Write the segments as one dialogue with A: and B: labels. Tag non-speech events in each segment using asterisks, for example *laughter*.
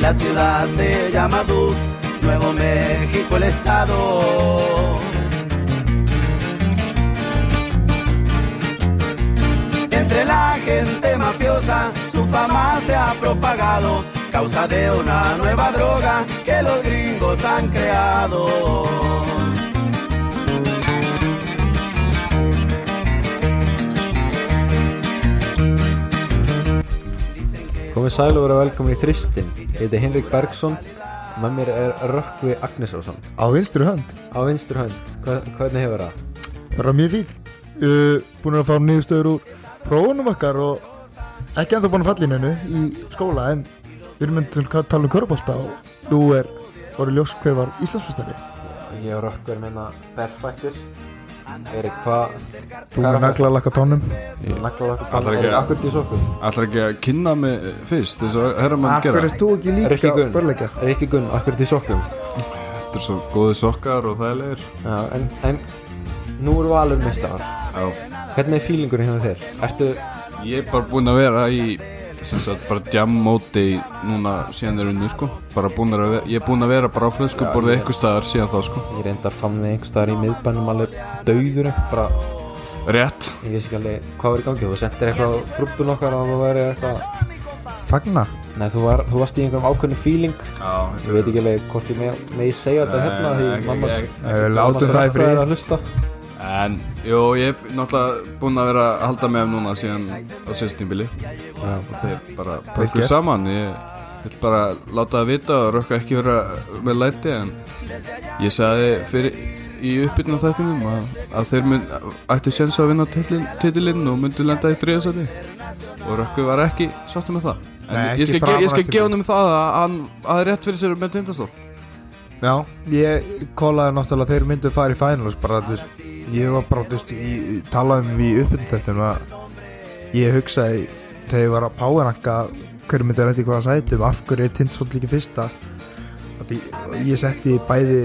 A: la ciudad se llama Duke, Nuevo México el estado. Entre la gente mafiosa su fama se ha propagado, causa de una nueva droga que los gringos han creado.
B: Komið sæl og vera velkomin í Þristin Ég heiti Henrik Bergson Með mér er Rökkvi Agnesrósson
C: Á vinstri hönd,
B: Á vinstri hönd, hva- hvernig hefur það?
C: bara mjög fín uh, Búin að fá nýðustöður úr prófunum okkar og ekki ennþá búin að falla inn hennu í skóla en við erum myndið að tala um körbólta og nú er orðið ljós hver var Íslandsfestari
B: Ég og Rökkvi erum hérna berfættir Erik, hvað
C: Þú er nagla að lakka tónum
B: Nagla okkur
D: Ætlar ekki-
B: Erik, akkur til sokkum
D: Ætlar ekki að kynna mig fyrst þess að herra maður
C: Akkur
D: gera
C: er þú ekki
B: Rikki
C: líka
B: Gunn,
C: börleika
B: Rikki Gunn, akkur til sokkum
D: Þetta er svo góði sokkar og þægilegir
B: Já, en, en nú eru valur mestar
D: Já
B: Hvernig er fílingurinn hérna þér? Ertu,
D: Ég er bara búinn að vera í sem sagt bara jam móti í núna síðan þeir unnu sko bara búinn að vera ég er búinn að vera bara á flöskuborði einhver staðar síðan þá sko
B: ég reyndar fann mig einhverstaðar í miðbænum alveg dauður bara,
D: Rétt
B: ég veist ekki alveg hvað var í gangi þú sendir eitthvað á grúppun okkar að þú væri eitthvað
C: Fagna
B: Nei, þú, var, þú varst í einhverjum ákveðnum feeling
D: Já
B: Ég veit ekki alveg hvort ég með, með ég segja þetta hérna Því mammas mammas
C: Látum það í
B: rökkur
C: frið.
B: er að hlusta
D: En jú ég er náttúrulega búinn að vera að halda með þeim núna síðan á sérstýmbili
B: Já.
D: og þeir bara
C: gert.
D: pökkur saman ég vil bara láta það vita og rökka ekki vera með læti en ég sagði fyrir í uppbyrna þættinum að, að þeir mun, ættu séns að vinna titlin, titilinn og myndu lenda í þriðasæti og rökku var ekki sáttu með það en
C: Nei,
D: ég,
C: ekki
D: skal, ge-
C: framar,
D: ég skal
C: ekki
D: gefa honum það að hann að rétt fyrir sér með tindastól
C: Já, ég kólaði náttúrulega að þeir myndu að fara í finals bara, þú veist, ég var bara, þú veist, í- talaði um í uppbyrðu þetta að ég hugsaði þegar ég var að páranakka hverju myndi að reynda í hvaða sætum af hverju er Tindsvold líka fyrsta að ég, ég setti bæði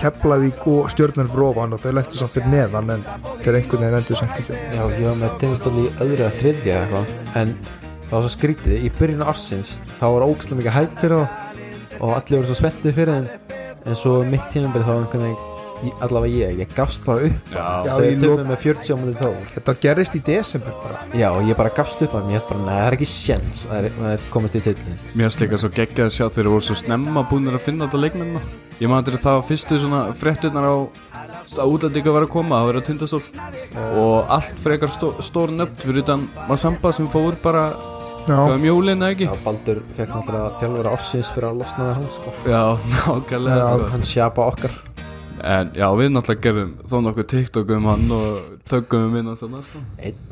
C: Keflavík og stjórnum fyrir ofan og þau lentu samt fyrir neðan en þeir einhvern veginn endur samt ekki
B: Já, ég var með tennistól í öðru að þriðja eða eitthvað En það var svo skrítið Í byrjun ársins þá var ógæslega mikið hægt fyrir það Og allir voru svo spenntið fyrir þeim En svo um mitt tímambil þá einhvern veginn ég- Allavega ég, ég gafst bara upp
D: Já,
C: Já,
B: Þegar
C: ég
B: ég töfum
C: lok-
B: með 40 á mútið þá
C: Þetta gerist í desember bara
B: Já, og ég bara gafst upp að mér Ég held bara, neða, það er ekki sjens að það er komist í tillin
D: Mér finnst líka svo geggjað að sjá þeir voru svo snemma búinir að finna þetta leikmennina Ég maður þetta það var fyrstu svona fréttunar á að útlændinga var að koma, það var að tindastól og allt frekar stó, stór nöfn fyrir utan Massamba sem fór bara hvað
C: Já,
D: um jólin eða ekki
B: Já, Baldur fekk náttúrulega þjálfara ársins fyrir að losna við hann sko.
D: Já, *laughs* nákvæmlega
C: Já.
D: sko.
B: Hann sjapa okkar
D: En já, við náttúrulega gerum þó nokkuð TikTok um hann og tökum um inn og svona sko.
B: Eitt,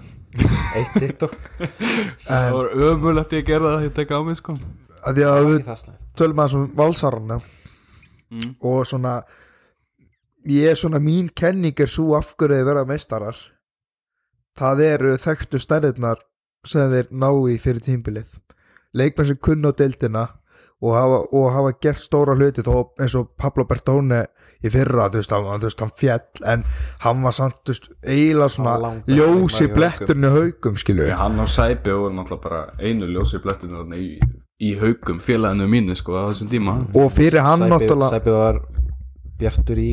B: eitt TikTok
D: Það var ömulegt ég gerði það að ég tekka á mig sko.
C: að því að við
B: Ekki það slæmt
C: tölum aðeins um valsarana og svona ég er svona mín kenning er svo af hverju þið verða meistarar það eru þekktu stærðirnar sem þeir ná í fyrir tímbilið leikmenn sem kunna á deildina og hafa, og hafa gert stóra hluti þó eins og Pablo Bertone í fyrra, þú veist, hann, þú veist, hann fjall en hann var samt, þú veist, eiginlega
B: Hann var
C: svona
B: langbestur
C: ljósi
B: leikmaður í Haukum.
C: bletturinn í haugum, skilju
D: Já, hann á sæpi og náttúrulega bara einu ljósi blættinu í, í haugum félaginu mínu sko, á þessum tíma
C: og fyrir hann náttúrulega
B: Sæpi var bjartur í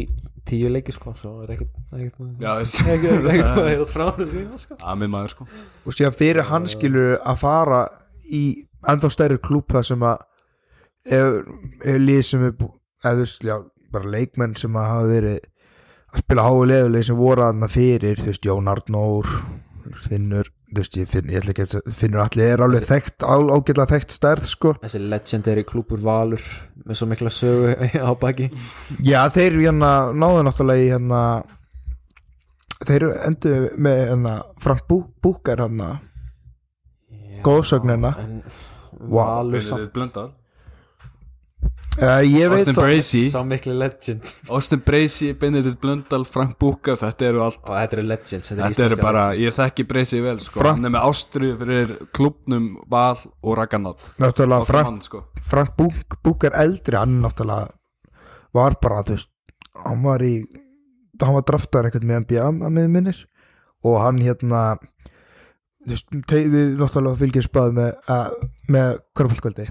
B: tíu leiki sko Svo er ekkert Það er ekkert-
D: Já, ég
B: það er ekkert
D: *laughs*
B: að heyra frá þessu sko.
D: Amið maður sko
C: og síðan fyrir hann skilur að fara í ennþá stærri klúb þar sem að er, er lið sem er bú- eða þú veist, já, bara leikmenn sem að hafa verið að spila háu leðuleg sem voru aðna fyrir, þú veist, Jón Arnór Finnur, þú veist, ég finn ég ætla ekki að segja- Finnur allir er alveg þekkt á- ágætlega þekkt stærð, sko
B: Þessi legendary klúpur Valur Með svo mikla sögu á baki
C: Já, þeir hérna náðu náttúrulega í hérna þeir endur með hérna Frank Bú Búkar hérna góðsögnina
B: En
C: Wow.
B: Valur samt
D: Blöndal
C: uh, Ég veit
D: Austin
C: það
D: Bracey
B: Sá mikli legend
D: Austin Bracey, Benedikt Blöndal, Frank Búka Þetta eru allt
B: Og þetta eru legends Þetta eru,
D: Þetta eru
B: íslenskar
D: bara, ég
B: legends.
D: þekki Bracey vel sko
C: Frank-
D: Hann er með ástru fyrir klubnum Val og Raganat
C: Náttúrulega
D: Okkar
C: Frank,
D: mann sko
C: Frank Búk, Búk er eldri hann náttúrulega var bara þú veist, hann var í hann var draftar einhvern með NBA að með minnir og hann hérna þú veist, te- við náttúrulega fylgjum spáð með, að- með körfaldkvöldi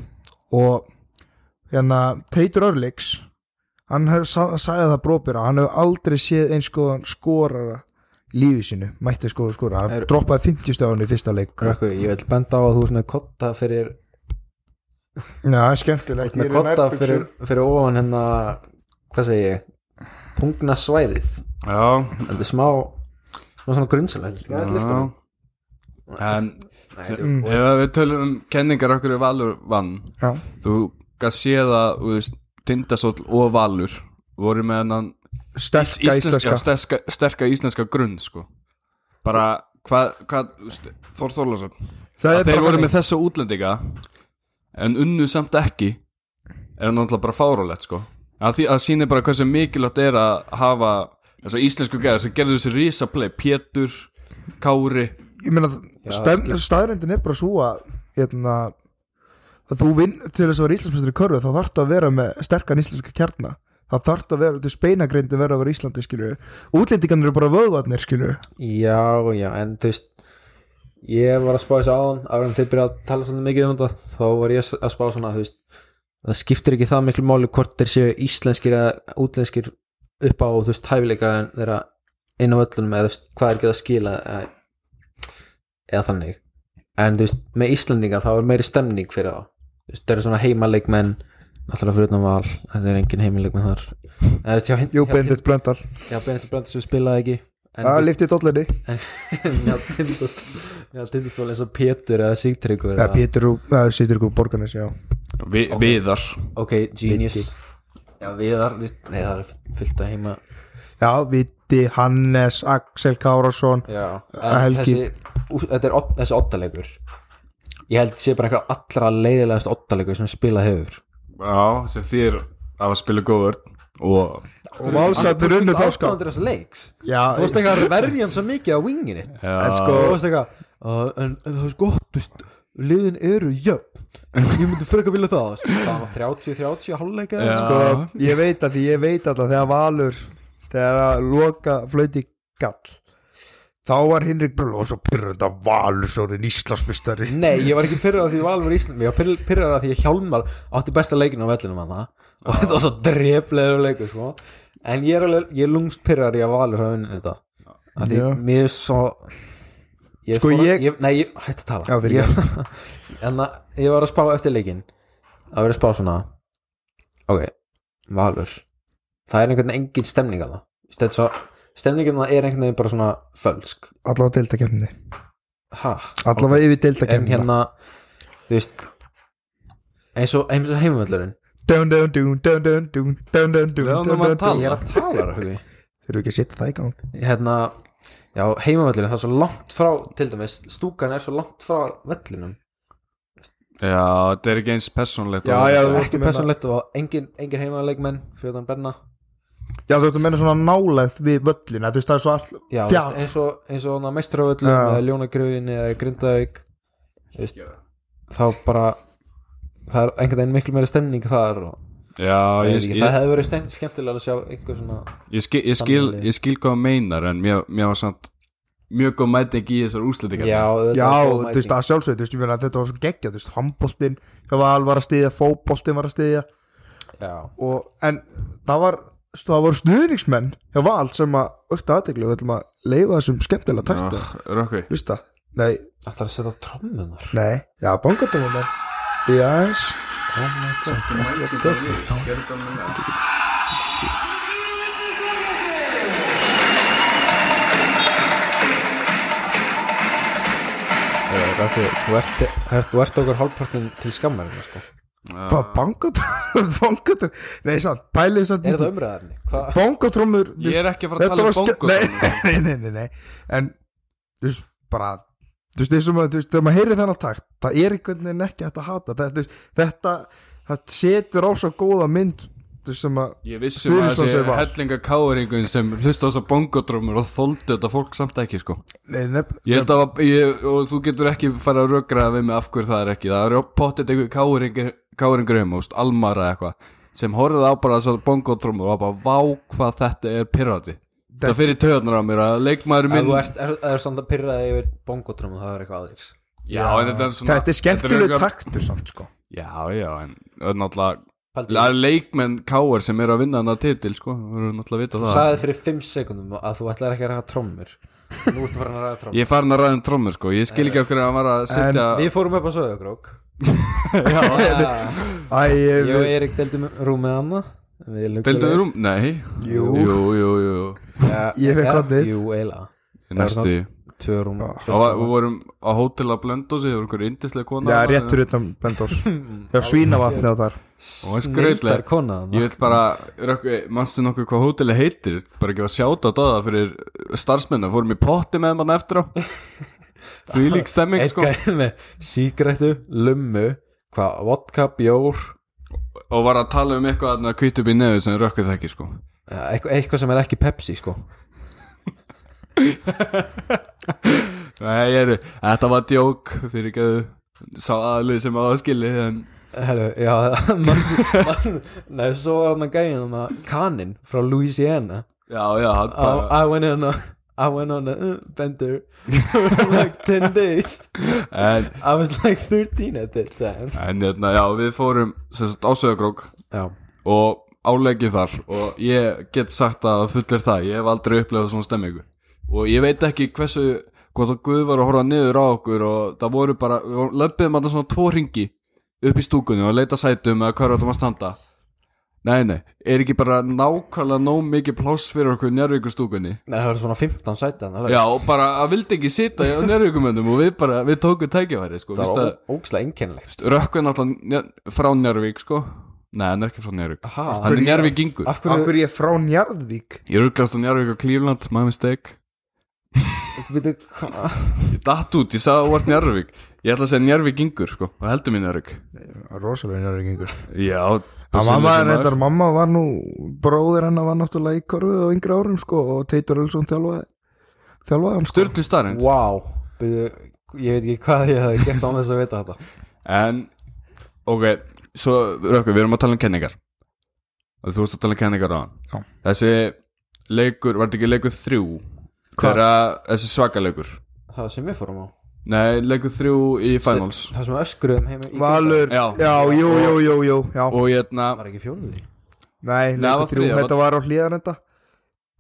C: og hérna Teitur Örlíks hann hef, sa- sagði það brópir að hann hefur aldrei séð eins skoðan skorara í lífi sínu, mætti skoða skora hann
B: Er-
C: droppaði 50 stöðan í fyrsta leik Já,
B: Rökku, ég vil benda á að þú ert með kotta fyrir
C: það er skemmtilegt
B: með
C: Ég er í
B: kotta
C: nærbuxum.
B: fyrir, fyrir ofan hérna hvað segi ég, pungna svæðið
D: Já,
B: þetta er smá smá svona grunnsalega held ég, aðeins lyfta honum.
D: En
B: Nei,
D: sem-
B: þetta er-
D: ef við tölum um kenningar okkur er Valur vann
C: Já.
D: Þú gæst séð að þú veist, Tindastóll og Valur voru með hennan
C: sterka
D: íslenska,
C: íslenska
D: sterka, sterka íslenska grunn sko. bara hvað hva, Þór Þorlásson
C: Það er
D: að þeir
C: bara
D: voru
C: þannig.
D: með þessa útlendinga en unnu samt ekki er náttúrulega bara fárólegt sko. að því að sýnir bara hversu mikilvægt er að hafa þessa íslensku gæða sem gerðu þessi risaplay Pétur, Kári
C: ég meina stöfn- staðreyndin er bara svo að hérna að þú vinn til þess að vera íslensmestri í körfu þá þarf það að vera með sterkan íslenska kjarna það þarf það að vera, til speinagrindi vera að vera Íslandi skilju, útlendingarnir eru bara vöðvarnir skilju,
B: já, já, en þú veist ég var að spá þessu áðan áður en þið byrja að tala svona mikið um þetta þá var ég að spá svona þú veist það skiptir ekki það miklu máli hvort þeir séu íslenskir eða útlenskir upp á þú veist hæfileika en þeirra inn á völlunum eða þú veist hvað er ekki að skila eða, eða þannig en þú veist með Íslendinga þá er meiri stemning fyrir þá þú veist það eru svona heimaleikmenn alltaf fyrir utan val það er engin heimaleikmenn þar eða þú veist hjá, hin-
C: jú
B: hjá,
C: Bendit Blöndal
B: já Benedikt Brandt sem spilaði ekki en, þú
C: að
B: veist,
C: lifti dollinni,
B: Já, tindast Já, tindast var eins og Pétur eða Sigtryggur
C: eða Pétur eða Sýtur Grú Borgarnes, já
D: Vi, Viðar
B: Ok, Genius Já, Viðar, við, nei það er fullt að heima
C: já, Viti, Hannes, Axel Kárasson
B: Já,
C: Helgi.
B: þessi, úf, þetta er odd- þessi oddalegur Ég held sé bara eitthvað allra leiðilegast oddalegur sem spilað hefur
D: Já, sem þýr að spila góður og
C: og valsættur unnu þá ská
B: Aðdáendur þessa leiks Þú veist
C: já,
B: eitthvað að verja hann svo mikið á vinginni
D: Já.
B: sko, Þú veist eitthvað "Uh, en, en það er sko gott, þú veist Liðin eru jöfn Ég myndi frekar vilja það þú veist, Það var 30-30 hálfleika
D: Já.
C: sko, ég veit að því ég veit alltaf þegar Valur þegar að loka flöyti gall þá var Hinrik Brölu og svo pyrrönda Valur svo er Íslandsmistari
B: Nei, ég var ekki pyrrar að því Valur Ísland Ég var pyrrar að því að Hjálmar átti besta leikinu á vellinum hann og þetta var svo dreflegur leikur sko. en ég er alveg, ég er lungst pyrrar í að Valur hafa unnið þetta Af því
C: Já.
B: mér er svo ég,
C: Sko,
B: fór að-
C: ég-
B: Nei, ég, hætti að tala
C: Já, fyrir
B: ég, *laughs* En að ég var að spá eftir leikin að vera að spá svona Ok, Valur Það er einhvern veginn engin stemning að það Stemningin það er einhvern veginn bara svona fölsk
C: allavega deildakefni
B: Ha?
C: allavega yfir
B: en
C: deildakefni
B: hérna þú veist eins og, eins og heimvöllurinn
C: dun dun dun dun dun dun dun dun dun
D: Leonum
C: dun
D: að
C: dun
D: tala.
C: dun
B: ég er að tala Rökkvi.
C: þurfum ekki að setja það í gang
B: hérna, já, heimvöllurinn það er svo langt frá, til dæmis, stúkan er svo langt frá vellinum,
D: Já, þetta er ekki eins persónlegt
C: Já,
D: og-
C: já, þú-
B: ekki
C: meina-
B: persónlegt og engin, engin heimvöllleikmenn fyrir þann benna
C: já þú ert að menna svona nálæð við völlina þú veist það er svo all
B: já, þú veist,
C: fjall
B: eins og, eins og meistravöllum
C: Já.
B: eða ljónagröfin eða grindavík þú veist, þá bara það er einhvern veginn miklu meira stemning þar og,
D: Já,
B: ég,
D: ég,
B: ég,
D: ég,
B: það hefði verið stem- skemmtilega að sjá einhver svona
D: ég, skil, ég, skil, ég skil hvað þú meinar en mér, mér var samt mjög góð mæting í þessar úslendingar
B: auðvitað
C: já
B: góð
C: þú veist
B: mæting.
C: að sjálfsveit þú veist ég meina að þetta var svo geggja þú veist handbóltin það var alvar að stiðja fótbóltin var að stiðja
B: já
C: og, en það var sko, það voru stuðningsmenn hjá Val sem að aukta aðteglu við ætlum að leifa þessum skemmtilega takta
D: Rökkvi
C: Vista? Nei,
B: Það er að setja á trommunar
C: nei, já, bongatóma Já, eins
B: Þú ert, ert, þú ert okkur hálfpartin til skammar sko.
C: Hvað, *laughs* bongatóma? bongatóma? Nei, samt, pælið samt
B: Er það umræðarni? Hva?
C: Bongatrómur
D: Ég er ekki að fara að tala um bongotrommu
C: nei, *laughs* nei, nei, nei, en þú veist, bara þú veist, eins og maður, þú veist, þegar maður heyri þennan takt það er einhvern veginn ekki hægt að hata þetta, þú veist, þetta, þetta setur á svo góða mynd, þú veist, sem að
D: Ég vissi um að
C: Stuðningsmann
D: þessi
C: sem var.
D: hellinga káringun sem hlusta á þessar bongodrömmur og þóldu þetta fólk samt ekki sko
C: Nei, nefn,
D: Ég held að var- ég, og þú getur ekki fara að rökra við mig af hverju það er ekki það er pottet einhver káringur káringur um, úst, almara eða eitthvað sem horfði á bara þessar bongodrömmur og var bara vá hvað þetta er pirrati Það fyrir töðnar á mér að leikmaður
B: Ef
D: minn
B: þú ert, er, er samt að pyrraði yfir bongotrömmu það er eitthvað aðeins
D: Já, en þetta er svona
C: þetta er skemmtileg
D: þetta er
C: taktur samt sko
D: Já, já, en það er náttúrulega
B: Paldi,
D: það er leikmenn káar sem eru að vinna hann að titil, sko, við erum náttúrulega að vita
B: þú
D: það
B: sagði fyrir 5 sekundum að þú ætlar ekki að ræða trommur Nú ertu farin að ræða trommur
D: Ég er farin að ræða um trommur, sko, ég skil ekki okkur að hann var að setja *laughs*
B: Við fórum upp á Söðugrók
C: Æ, ég,
B: Ég og Erik deildum rúm með Anna Við
D: Deildu rúm? Nei
C: Jú.
D: Jú, jú, jú
C: Ég fékk hotið.
B: Jú, eiginlega
D: Í Næstu
B: Tvö rúm
C: Já.
D: Það var, við vorum á hótel að blenda og sér, það var einhver indislega kona
C: já,
D: þarna,
C: rétt fyrir utan
D: *laughs*
C: Bendós Já, svínavatni á þar
D: Og hann
B: Nildar
D: skreitlega
B: kona
D: Ég
B: þarna.
D: vil bara, rökk- manstu nokkuð hvað hóteli heitir Bara ekki að sjáta á það fyrir starfsmennu Fórum í potti með mann eftir á Því lík stemming,
B: Einn
D: sko
B: gæði með sígrættu, lummu Hvað, vodka, bjór
D: Og var að tala um eitthvað að kvít upp í nefi sem rökkur þekki, sko
B: ja, eitthvað, eitthvað sem er ekki Pepsi, sko
D: Nei, ég er, þetta var djók fyrir ekki að sá aðlið sem á að skilji en
B: Hello, já, *laughs* man, man, Nei, svo var hann að gæði hann að Kanin frá Louisiana
D: já, já, hann
B: I,
D: bara
B: I went on a I went on a uh, bender *laughs* for like 10 days
D: en,
B: I was like 13 at that time
D: en hérna, já, við fórum sem sagt ásöðagrók
B: Já,
D: og álegið þar og ég get sagt að fullir það, ég hef aldrei upplegað svona stemmingu og ég veit ekki hversu hvort að Guð var að horfa niður á okkur og það voru bara, við vorum- löbbuðum alltaf svona tvo ringi upp í stúkunni og leita sætum eða hvað ráttum að standa Nei, nei, er ekki bara nákvæmlega nóg mikið pláss fyrir okkur njárvíkur stúkunni
B: Nei, það var svona 15 sætan það var-
D: Já, og bara að vildi ekki sita á njárvíkumöndum og við bara, við tókum tækifæri sko,
B: Það
D: Vist
B: var
D: að-
B: ó- ógislega einkennilegt
D: Rökkvi er náttúrulega njá- frá Njárvík sko Nei, hann er ekki frá Njárvík
B: Aha.
D: Hann er Njárvíkingur
B: Af
C: Af
B: hverju,
C: hverju ég er frá Njarðvík
D: Ég rugglast á Njárvík og Klífland, my mistake
B: veitu, hva-
D: Ég datt út, ég sagði að þú vart Njárvík Ég ætla að segja Njárvíkingur sko, og heldur mér Njárvík
C: Rosalega Njarðvíkingur
D: Já,
C: Að mamma, reyndar, mamma var nú bróðir hennar var náttúrulega í korfu á yngri árum sko og Teitur Ölsson þjálfaði þjálfaði hann sko
D: Sturlu starrend
B: Wow, veitu, ég veit ekki hvað ég hafði gert án þess að vita þetta
D: En, ok, svo Rökkvi, við erum að tala um kenningar Og Þú varst að tala um kenningar á
C: Já.
D: hann Þessi leikur, var þetta ekki leikur þrjú
C: Hvað?
D: Þegar þessi svakaleikur
B: Það sem við fórum á
D: Nei, leikur þrjú í finals
B: Það sem við öskruðum heim í
C: Valur,
D: Já.
C: já, jú, jú, jú, jú já.
D: Og hérna
B: Var ekki fjóluði
C: Nei,
D: það var
C: leikur þrjú,
D: þriðja,
C: þetta var á hlýðan þetta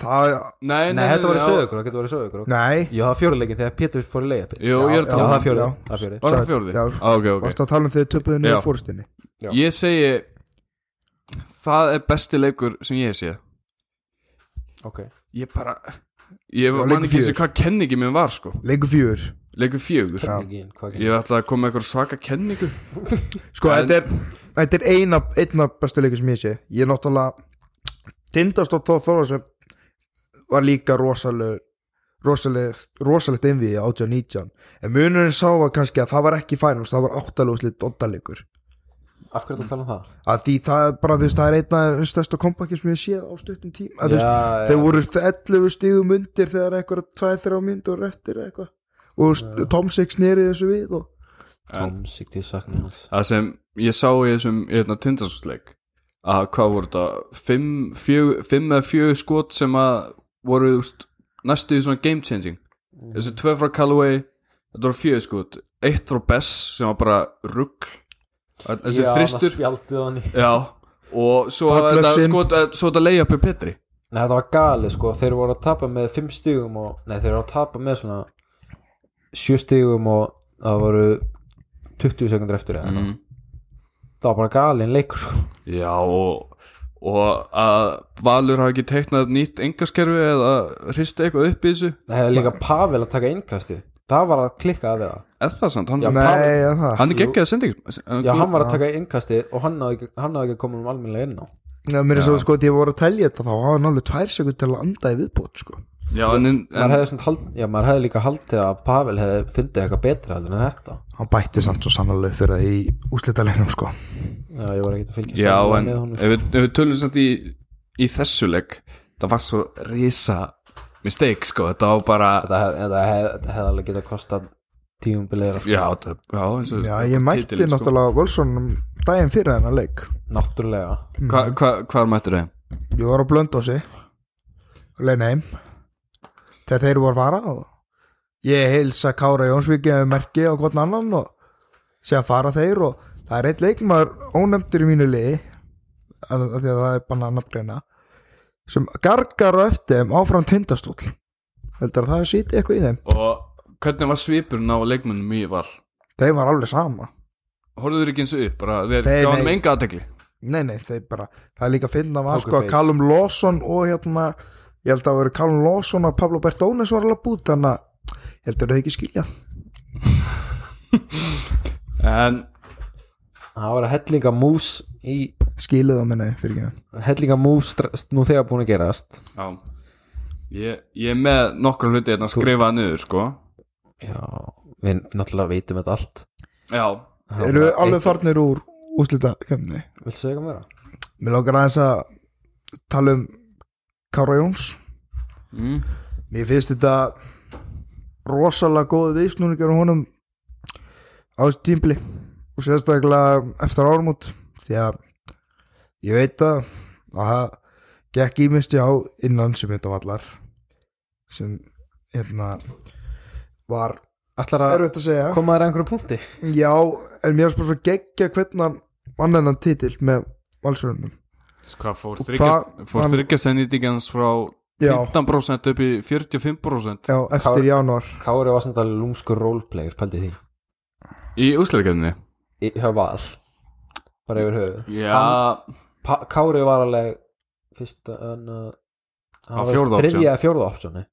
C: Það,
D: Nei,
B: Nei, þetta var í
D: já.
B: söðugur, það getur verið söðugur
C: nei
B: Já, það var fjóluleikin þegar Pétur fór í leið
D: Jú,
C: Já,
D: ég er að
B: Já,
D: tala um
B: það er fjóluði Það er
C: já.
B: fjóluði
D: Var það
C: Sagði-
D: fjórði?
C: já.
D: Á, ok, ok
C: Varstu að tala um þegar töpuðu
D: Já.
C: niður fórstinni
B: Já.
D: Ég segi Það er besti leikur sem ég sé
B: Ok
D: Ég bara Ég
C: Já,
D: man
C: leikur
D: ekki eins og
C: fjögur.
D: hvað kenningi mér var sko
C: Leikur fjúur
D: Leikur fjögur
B: Kenningin, hvað kenningin
D: Ég ætla að koma með eitthvað svaka kenningu
C: Sko,
D: En-
C: þetta er, þetta er eina, einna bestu leikur sem ég sé Ég er náttúrulega Tindast og Þór Þóra sem var líka rosaleg rosaleg, rosalegt einvið á 18-19 en munurinn sá var kannski að það var ekki finals, það var áttalúslit ottaleikur
B: Af hverju þú tala um það?
C: að því það er bara þú veist það er einna stærsta kompakki sem ég séð á stuttum tíma að þú veist
B: Já,
C: þeir voru 11 stigum undir þegar einhverja 2-3 myndur eftir eða eitthvað og st- Tom Six nýri þessu við og
B: Tom Sigtið saknaði hans
D: Það sem ég sá í þessum hérna, tindarsleik að hvað voru þetta fimm, fjög, fimm eða fjögur skot sem að voru úst, næstu í svona game changing
B: Mhm.
D: þessi tvö frá Callaway þetta voru fjögur skot eitt frá Bess sem var bara rugg þessi
B: Já,
D: þristur
B: það spjaldið á hann í
D: já, og svo
C: Fallöxin.
D: þetta skot eh, svo þetta leiði upp í Petri
B: Nei, þetta var galið sko, þeir voru að tapa með 5 stígum og, nei, þeir voru að tapa með svona 7 stígum og það voru 20 sekundur eftir eða mm. það var bara galin leikur sko
D: já og og að Valur hafi ekki teiknað nýtt engaskerfi eða hrista eitthvað upp í þessu
B: Nei, það er líka Pavel að taka innkastið það var að klikka að við það
D: eða það samt, hann,
B: Já, Pavel-
C: nei, en það
D: hann er geggjað sending
B: Já, hann var að taka innkastið og hann náði ekki, hann náði ekki að koma um almennilega inn á
C: Já, mér er svo sko, því ég voru að telja þetta þá hafa náttúrulega tvær sekund til að landa í viðbót sko.
D: já, en, en,
B: maður hefði, svona hald, já, maður hefði líka haldið að Pavel hefði fundið eitthvað betra heldur en þetta
C: hann bætti samt svo sannlega fyrir það í úslitalegnum sko.
B: Já, ég var ekki að fylgjast
D: Já,
B: alveg
D: en
B: með honum, sko.
D: ef við, ef við tölum samt í, í þessu leik það var svo risa mistake, sko, þetta var bara
B: Þetta hef- þetta hef- þetta hefði alveg getað kostað tíumbilið sko.
D: já, það, já, eins og
C: já, ég mætti
D: titilinn, sko.
C: náttúrulega Völsson daginn fyrir þennan leik
B: náttúrulega
D: Hva, hva,
C: Mm.
D: Hvar mættur þeim?
C: ég var á blöndósi leina heim þegar þeir voru að fara og ég heilsa Kára Jónsvík með merki á hvern annan og séðan fara þeir og það er einn leikmaður ónefndur í mínu liði af af því að það er bannað að nafngreina sem gargar á eftir þeim áfram tindastól heldur að það sýti eitthvað í þeim
D: Og hvernig var svipurinn á leikmennum í val?
C: þeim var alveg sama
D: Horfðu þér ekki eins og upp, bara þeir
C: Nei,
D: gaf hann
C: nei.
D: enga aðtekli
C: nei nei þeim bara það er líka að finna var
B: Poker
C: sko að
B: face.
C: Callum Lawson og hérna ég held að það voru Callum Lawson og Pablo Bertónes var alveg búið þannig að ég held að þau ekki skilja
D: En
B: Það var að hellinga mús í
C: skilið á minni fyrir ekki
B: hellinga mús str- nú þegar búin að gerast
D: Já Ég, ég er með nokkra hluti hérna að skrifa niður sko
B: Já, við náttúrulega veitum þetta allt
D: Já
B: Það
C: eru
B: var
C: alveg
B: eitt-
C: farnir úr úslita kemni
B: Viltu segja mér það?
C: mér lókar aðeins að tala um Kára Jóns
D: mm.
C: Mér finnst þetta rosalega góð viðsnúningar á honum á þessu tímpli og sérstaklega eftir ármút því að ég veit að að það gekk ímyndst á innan sem þetta vallar sem hérna var
B: Ætlar að
C: erfitt að segja
B: koma þér að einhverju punkti?
C: já, en mér finnst bara svo geggja hvernig hann vann hennan titill með valsverðunum
D: Sko, Hvað fór
C: Og
D: þryggjast
C: hvað-
D: Fór
C: hann-
D: þryggjast henni hans frá
C: já,
D: 15% upp í 45%
C: já, eftir januar
B: Kári var samt alveg lúmskur roleplayer, pældi því
D: Í úsleikefni
B: Í hjá val Bara yfir höfuð
D: Já
B: pa, Kári var alveg fyrsta en uh,
D: Á
B: hann var
D: fjórða option.
B: þriðja eða fjórða optioni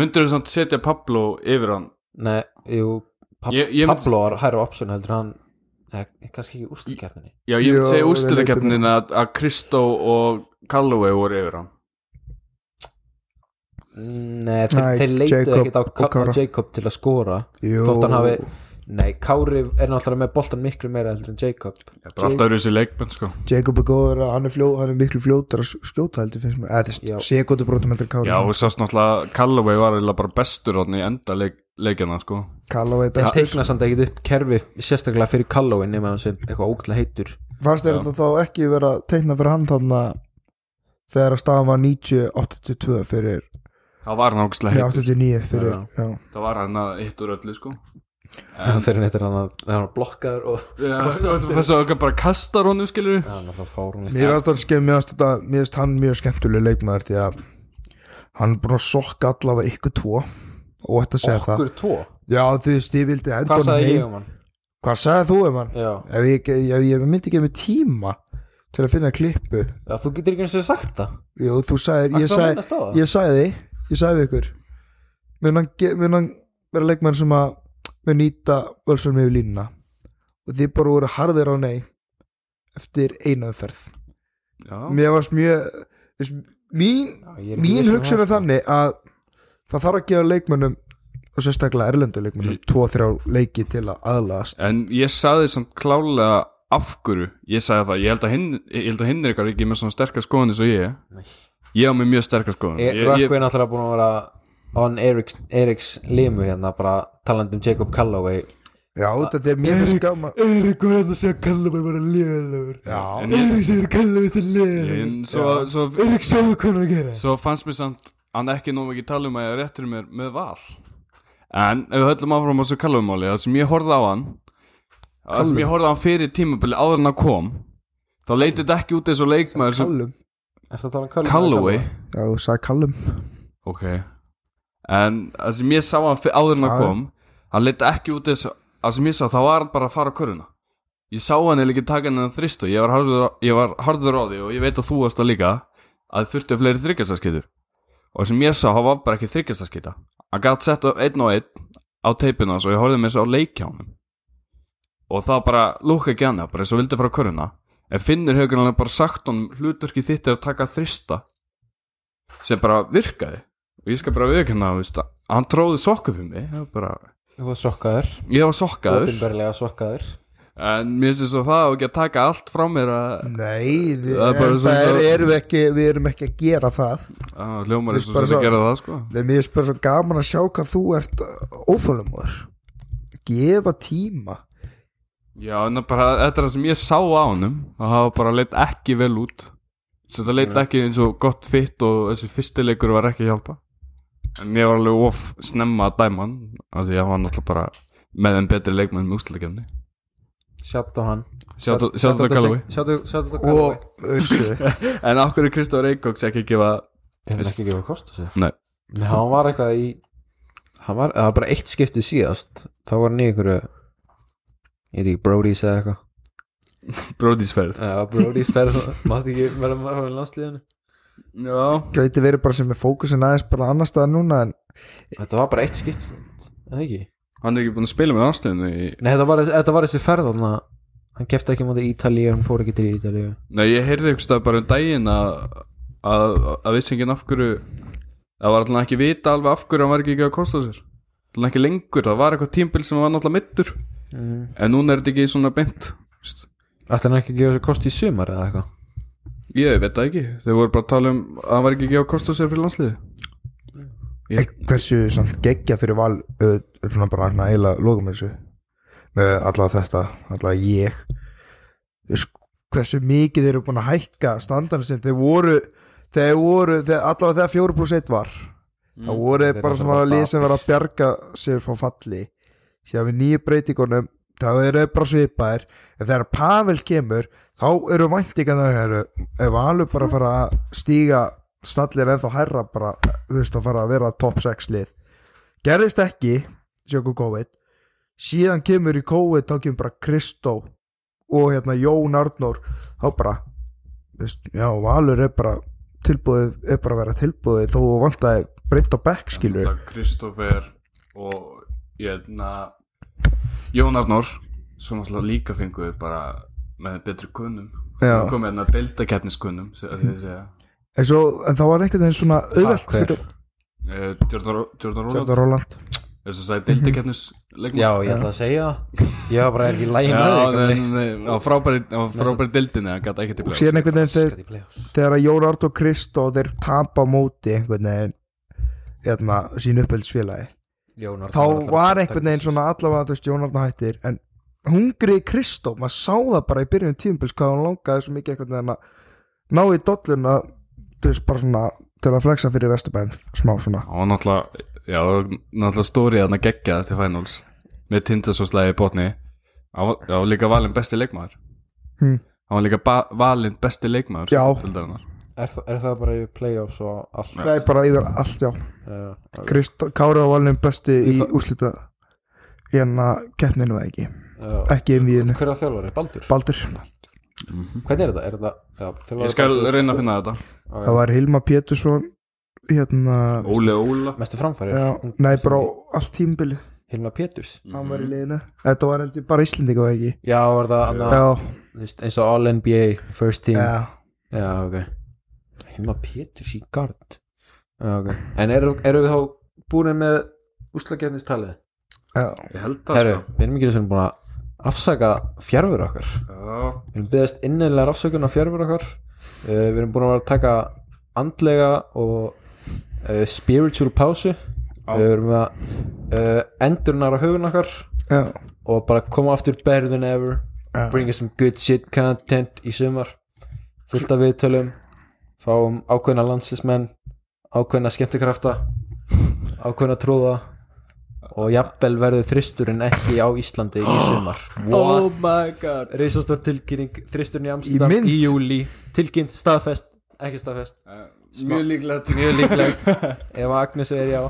D: Myndur þú samt setja Pablo yfir hann
B: Nei, jú, pab,
D: Ég- ég myndi-
B: Pablo var hærra option heldur en hann Nei, kannski ekki úrstakefninni
D: Já, ég myndi
C: Jú,
D: segja
C: við
D: úsleikefnin
C: leitum-
D: að, að Kristó og Callaway voru yfir hann
B: Nei, þeir,
C: Nei,
B: þeir leituðu
C: Jacob
B: ekkert á,
C: og
B: Ka- á
C: Kára.
B: Jacob til að skora
C: Jú.
B: þótt hann hafi Nei, Kári er náttúrulega með boltan miklu meira heldur en Jacob
D: Það er alltaf yfir þessi leikmenn sko
C: Jacob er góður að hann er, fljó, hann er miklu fljótar að skjóta heldur finnst mér eða
B: Já.
C: þess sekundubrótum heldur en Kári
D: Já, og sást náttúrulega að Callaway var eiginlega bara bestur hann í enda leik, leikjana sko
C: Callaway
B: Þeir
C: bestur
B: teikna samt ekkert upp kerfi sérstaklega fyrir Callowin nema hann sem eitthvað ógætlega heitur
C: fannst þér
D: Já.
C: þetta þá ekki vera teikna fyrir hann þannig að þegar að staðan var 90-82 fyrir
D: Það var nákvæmslega
C: nei,
D: heitt
C: 89 fyrir
B: Já.
C: já.
D: Það var hann að hittur öllu sko
B: *laughs*
D: En-
B: þegar hann heitir hann að hann var blokkaður og
D: *laughs* Þess að okkar bara kastar honum skilur
B: Já, hann var það fárunlega
C: mér finnst hann skemm- mér fannst þetta- mér finnst hann mjög skemmtuleg leikmaður því að hann er búin að sokka allavega ykkur tvo og þetta segja það
B: Okkur tvo,
C: já þú veist ég vildi enda
B: hvað
C: hann
B: sagði
C: heim
B: ég um hann?
C: hvað sagði þú um hann
B: Já,
C: ef ég, ef ég myndi ekki með tíma til að finna klippu
B: Já, þú getur ekki eins og sagt það
C: Jú, þú sagðir,
B: Ætlar
C: ég
B: að
C: sagði,
B: minnast á það?
C: ég sagði, ég sagði við ykkur mun hann, ge- mun hann vera leikmenn sem að mun nýta völsunum yfir línuna og þið bara voru harðir á nei eftir eina umferð
D: Já,
C: mér varst mjög þess, mín,
B: Já, ég er ekki viss
C: mín
B: um
C: hugsun er
B: það.
C: þannig að það þarf að gefa leikmennum og sérstaklega erlendu
B: Mm.
C: leikmennum tvo þrjá leiki til að aðlaðast
D: en ég sagði samt klálega af hverju Ég sagði það, ég held að hinn Ég held að hinn er ykkar ekki með svona sterkar skoðan eins og ég
B: Nei.
D: Ég á með mjög sterkar skoðan
B: Ég-
D: Ég- ég-
B: Rökkvi er náttúrulega búin að vera on Eriks, Eriks limur hérna bara talandi um Jacob Calloway
C: já, þetta er mér finnst gaman
B: Erik var hérna að segja Calloway var að liðalegur
C: já,
B: Erik segir Calloway til liðalegur
D: En svo, svo,
B: Erik sagði hvað hann að gera
D: svo fannst mér samt Hann ekki nóg ekki tala um að ég réttir mér með val En ef við höllum áfram á svo kallumáli Það sem ég horfði á hann Það sem ég horfði á hann fyrir tímabili áður en að kom Þá leit þetta ekki út eins og leikmaður sem
C: kallum
B: Ertu að tala um Calloway?
D: Callaway
C: já, þú sagði kallum
D: Ok En það sem ég sá hann fyr- áður en
C: Já,
D: hann
C: já.
D: kom Hann leitt ekki út þess Það sem ég sá þá var hann bara að fara á köruna Ég sá hann eða ekki taka hann en þrist og ég var, harður, á- ég var harður á því og ég veit að þú varst það líka að þurftu fleiri þryggjastaskýtur og það sem ég sá hann var bara ekki þryggjastaskýta Hann gætt sett á einn og einn á teipinu hans og ég horfði með þess á leikjánum og það bara lúka ekki hann bara eins og vildi fara á köruna en finnur haugur hann bara sagt hann hlutverki þitt er að taka þrista sem bara virkaði og ég skal bara viðkynna að hann tróði sokk upp í mig Það var bara,
B: Þú var sokkaður
D: ég var sokkaður
B: Opinberlega sokkaður
D: en mér finnst þess að það á ekki að taka allt frá mér að,
C: Nei, við,
D: Það er bara
C: en
D: svo-
C: það er,
D: svo-
C: erum við ekki, við erum ekki að gera það
D: að hljómar
C: Mér
D: eins
C: finnst
D: og
C: bara
D: sem
C: svo-
D: að gera það sko
C: Nei, mér er bara svo gaman að sjá hvað þú ert óþólumur Gefa tíma
D: já en það bara þetta er það sem ég sá á honum og það var bara leitt ekki vel út svo það leitt ekki eins og gott fitt og þessi fyrstileikur var ekki að hjálpa en ég var alveg of snemma að dæma hann af því að hann var náttúrulega bara með enn betri leikmenn með úslutakefni
B: Sjátt á hann
D: Sjátt á Galloway
B: Sjátt á Galloway
C: og össu
D: *laughs* En af hverju Kristóf Reykjóks ekki að gefa
B: Hefur hann ekki gefið kost á sér?
D: Nei.
B: Nei, hann var eitthvað í Hann var, það var bara eitt skiptið síðast Þá var hann í einhverju Ég veit ekki, Brody's eða eitthvað
D: bróðisferð
B: Já, Brody's ferð *laughs* Mátti ekki vera með hann í landsliðinu
D: Já
C: gæti verið bara sem er fókusin aðeins bara annar staðar núna en
B: Þetta var bara eitt skipt Eða ekki?
D: Hann er ekki búin að spila með ánstöðinu í...
B: Nei, þetta var, þetta var þessi ferð þarna Hann kefti ekki mútið Ítalíu, hann fór ekki til Ítalíu
D: Nei, ég heyrði ykkur stað bara um daginn að að, að vissi enginn af hverju það var alltaf ekki vita alveg af hverju hann var ekki ekki að kosta sér alltaf ekki lengur, það var eitthvað tímbil sem hann var náttúrulega mittur
B: mm.
D: en núna er þetta ekki svona beint veist.
B: Ætli hann ekki að gefa sér kost í sumar eða eitthvað
D: ég veit það ekki, þau voru bara að tala um að hann var ekki ekki að kosta sér fyrir landsliði Ég-
C: Ek- hversu samt geggja fyrir val uh, svona bara hann að eila lokum þessu með allavega þetta allavega ég Sk- hversu mikið þeir eru búin að hækka standarinn sinn, þeir voru þeir voru, þeir, allavega þegar 4 pluss 1 var það voru
B: Mm, Þeir
C: bara
B: eru
C: svona
B: bara
C: lið sem var að bjarga sér frá falli síðan við nýju breytingunum það eru þeir bara svipaðir en þegar Pavel kemur þá eru væntingarnar ef Valur bara að fara að stíga stallir ennþá hærra bara þú veist að fara að vera top 6 lið gerðist ekki sjöku COVID síðan kemur í COVID þá kemur bara Kristó og hérna Jón Arnór þá bara þú veist, já Valur er bara tilbúið er bara að vera tilbúið þó vantaði breytt á back skilur
D: Kristoffer og hérna Jón Arnór svo náttúrulega líka fenguðu bara með betri kunnum
C: Já.
D: komið hérna deildakeppniskunnum Jordan
C: en, svo, en það var einhvern veginn svona auðvelt
B: hver?
C: fyrir
D: Ró- Eh, Jordan Róland
C: Sjöndar Róland
D: þess að sagði deildakeppnisleikmann
B: Já, ég ætla að segja það Ég var bara ekki lægin
D: Já, nei, nei, nei, á frábæri, á frábæri deildinni hann gæti ekki til
C: og síðan einhvern veginn þeir þegar að Jón Art og Kristó þeir tapa á móti einhvern veginn hérna, sín upphaldsfélagi
B: Jónar
C: þá var einhvern veginn svona allavega þú veist Jón Arna hættir en hungri Kristó, maður sá það bara í byrjunum tímpils hvað hann langaði svo mikið einhvern veginn að ná í dolluna þú veist bara svona til að flexa fyrir Vesturbæn smá svona
D: og náttúrulega já, náttúrulega stórið hann að gegja til finals með tindasóslæði í botni hann var- hann var líka valinn besti leikmaður
C: Hmm.
D: hann var líka ba- valinn besti leikmaður
C: Já.
D: deildarinnar.
B: er, þa- er það bara í playoffs og allt
C: það er bara yfir allt já
B: uh,
C: Kristó, Kára var alveg bestu
B: Í
C: í
B: hvað-
C: úslita en að keppninu var ekki
B: uh,
C: ekki um viðinu,
B: Hver er þjálfari? Baldur?
C: Baldur
B: Hvernig er þetta? Er þetta já, þjálfari
D: ég skal
B: Baldur-
D: reyna að finna þetta
B: Já, já.
C: það var Hilma Pétursson hérna
D: Óli Óla
B: Mestu framfæri
C: já, nei bara allt tímbili
B: Hilma Péturs
C: hann var í liðinu þetta var heldur bara Íslendinga var ekki
B: Já, var það annað
C: já,
B: þú veist, eins og All NBA First Team
C: já.
B: Já, ok Hilma Péturs í gard Já, ok En eru, eru við þá búin með úslagjarnistalið?
C: já.
D: ég held það
B: Herru, við erum ekki eins og búin að afsaka fjárfur okkar
D: sko.
B: Við erum beðast innilegar afsökunar fjárfur okkar uh, Við erum búin að vera að taka andlega og uh, spiritual pásu Eh, Við erum að uh, endurnar á hugun okkar
C: já.
B: og bara koma aftur better than ever
C: Já.
B: bring us some good shit content í sumar fullt af viðtölum fáum ákveðna landsismenn ákveðna skemmtikrafta ákveðna trúða og jafnvel verður þristurinn ekki á Íslandi í sumar
D: oh my god
B: reisastór tilkynning þristurinn í
C: Í
B: Amsterdam
C: mynd?
B: í, júli tilkynnt, staðfest, ekki staðfest
D: Eh, mjög líklegt mjög *laughs* líklegt
B: ef Agnes er já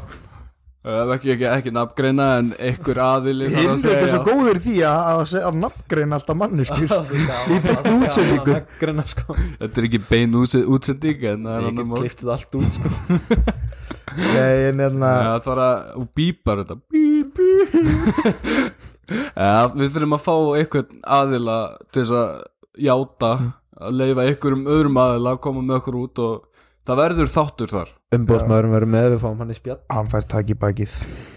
D: ekki, ekki, ekki nafngreina en einhver aðili þarf að
C: Hildur
D: segja
C: er svo
D: já.
C: góður í því að, að, segja- að nafngreina alltaf manneskjur
B: í
C: beinni útsendingu.
B: grinna sko
D: þetta er ekki bein útse- útsending en það er
B: ég
D: annar
B: get
D: mál
B: kliftið allt út sko
C: *laughs* Nei, en hérna
D: Já, það þarf að, og bípar þetta Bíp, bíp *laughs* Já, við þurfum að fá einhvern aðila til þess að játa
B: Mm.
D: að leifa einhverjum öðrum aðila að koma með okkur út og það verður þáttur þar
B: umbóðsmaðurinn verður með við fáum hann í spjall
C: hann fær takk í bakið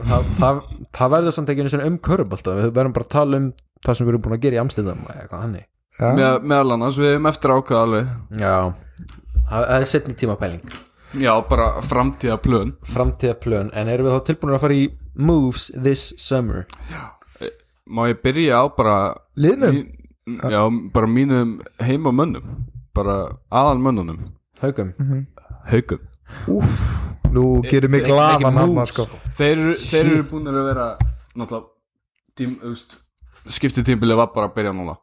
B: það, það, það verður samt ekki einu sinni um körubólta við verðum bara að tala um það sem við erum búin að gera í amstæðum eða eitthvað hannig
C: já.
D: með, meðal annars, við hefum eftir að ákveða alveg
B: já það það er setni tímapæling
D: Já, bara framtíða plön
B: framtíðaplön en erum við þá tilbúin að fara í moves this summer
D: Má ég byrja á bara
C: Liðnum?
D: Mín- Já, bara mínum heimamönnum bara aðalmönnunum
B: haugum
D: Haukum
C: nú gerir mig glaðan hann sko.
D: Þeir eru, þeir eru búin að vera náttúrulega tím, úst, skipti tímbili var bara að byrja núna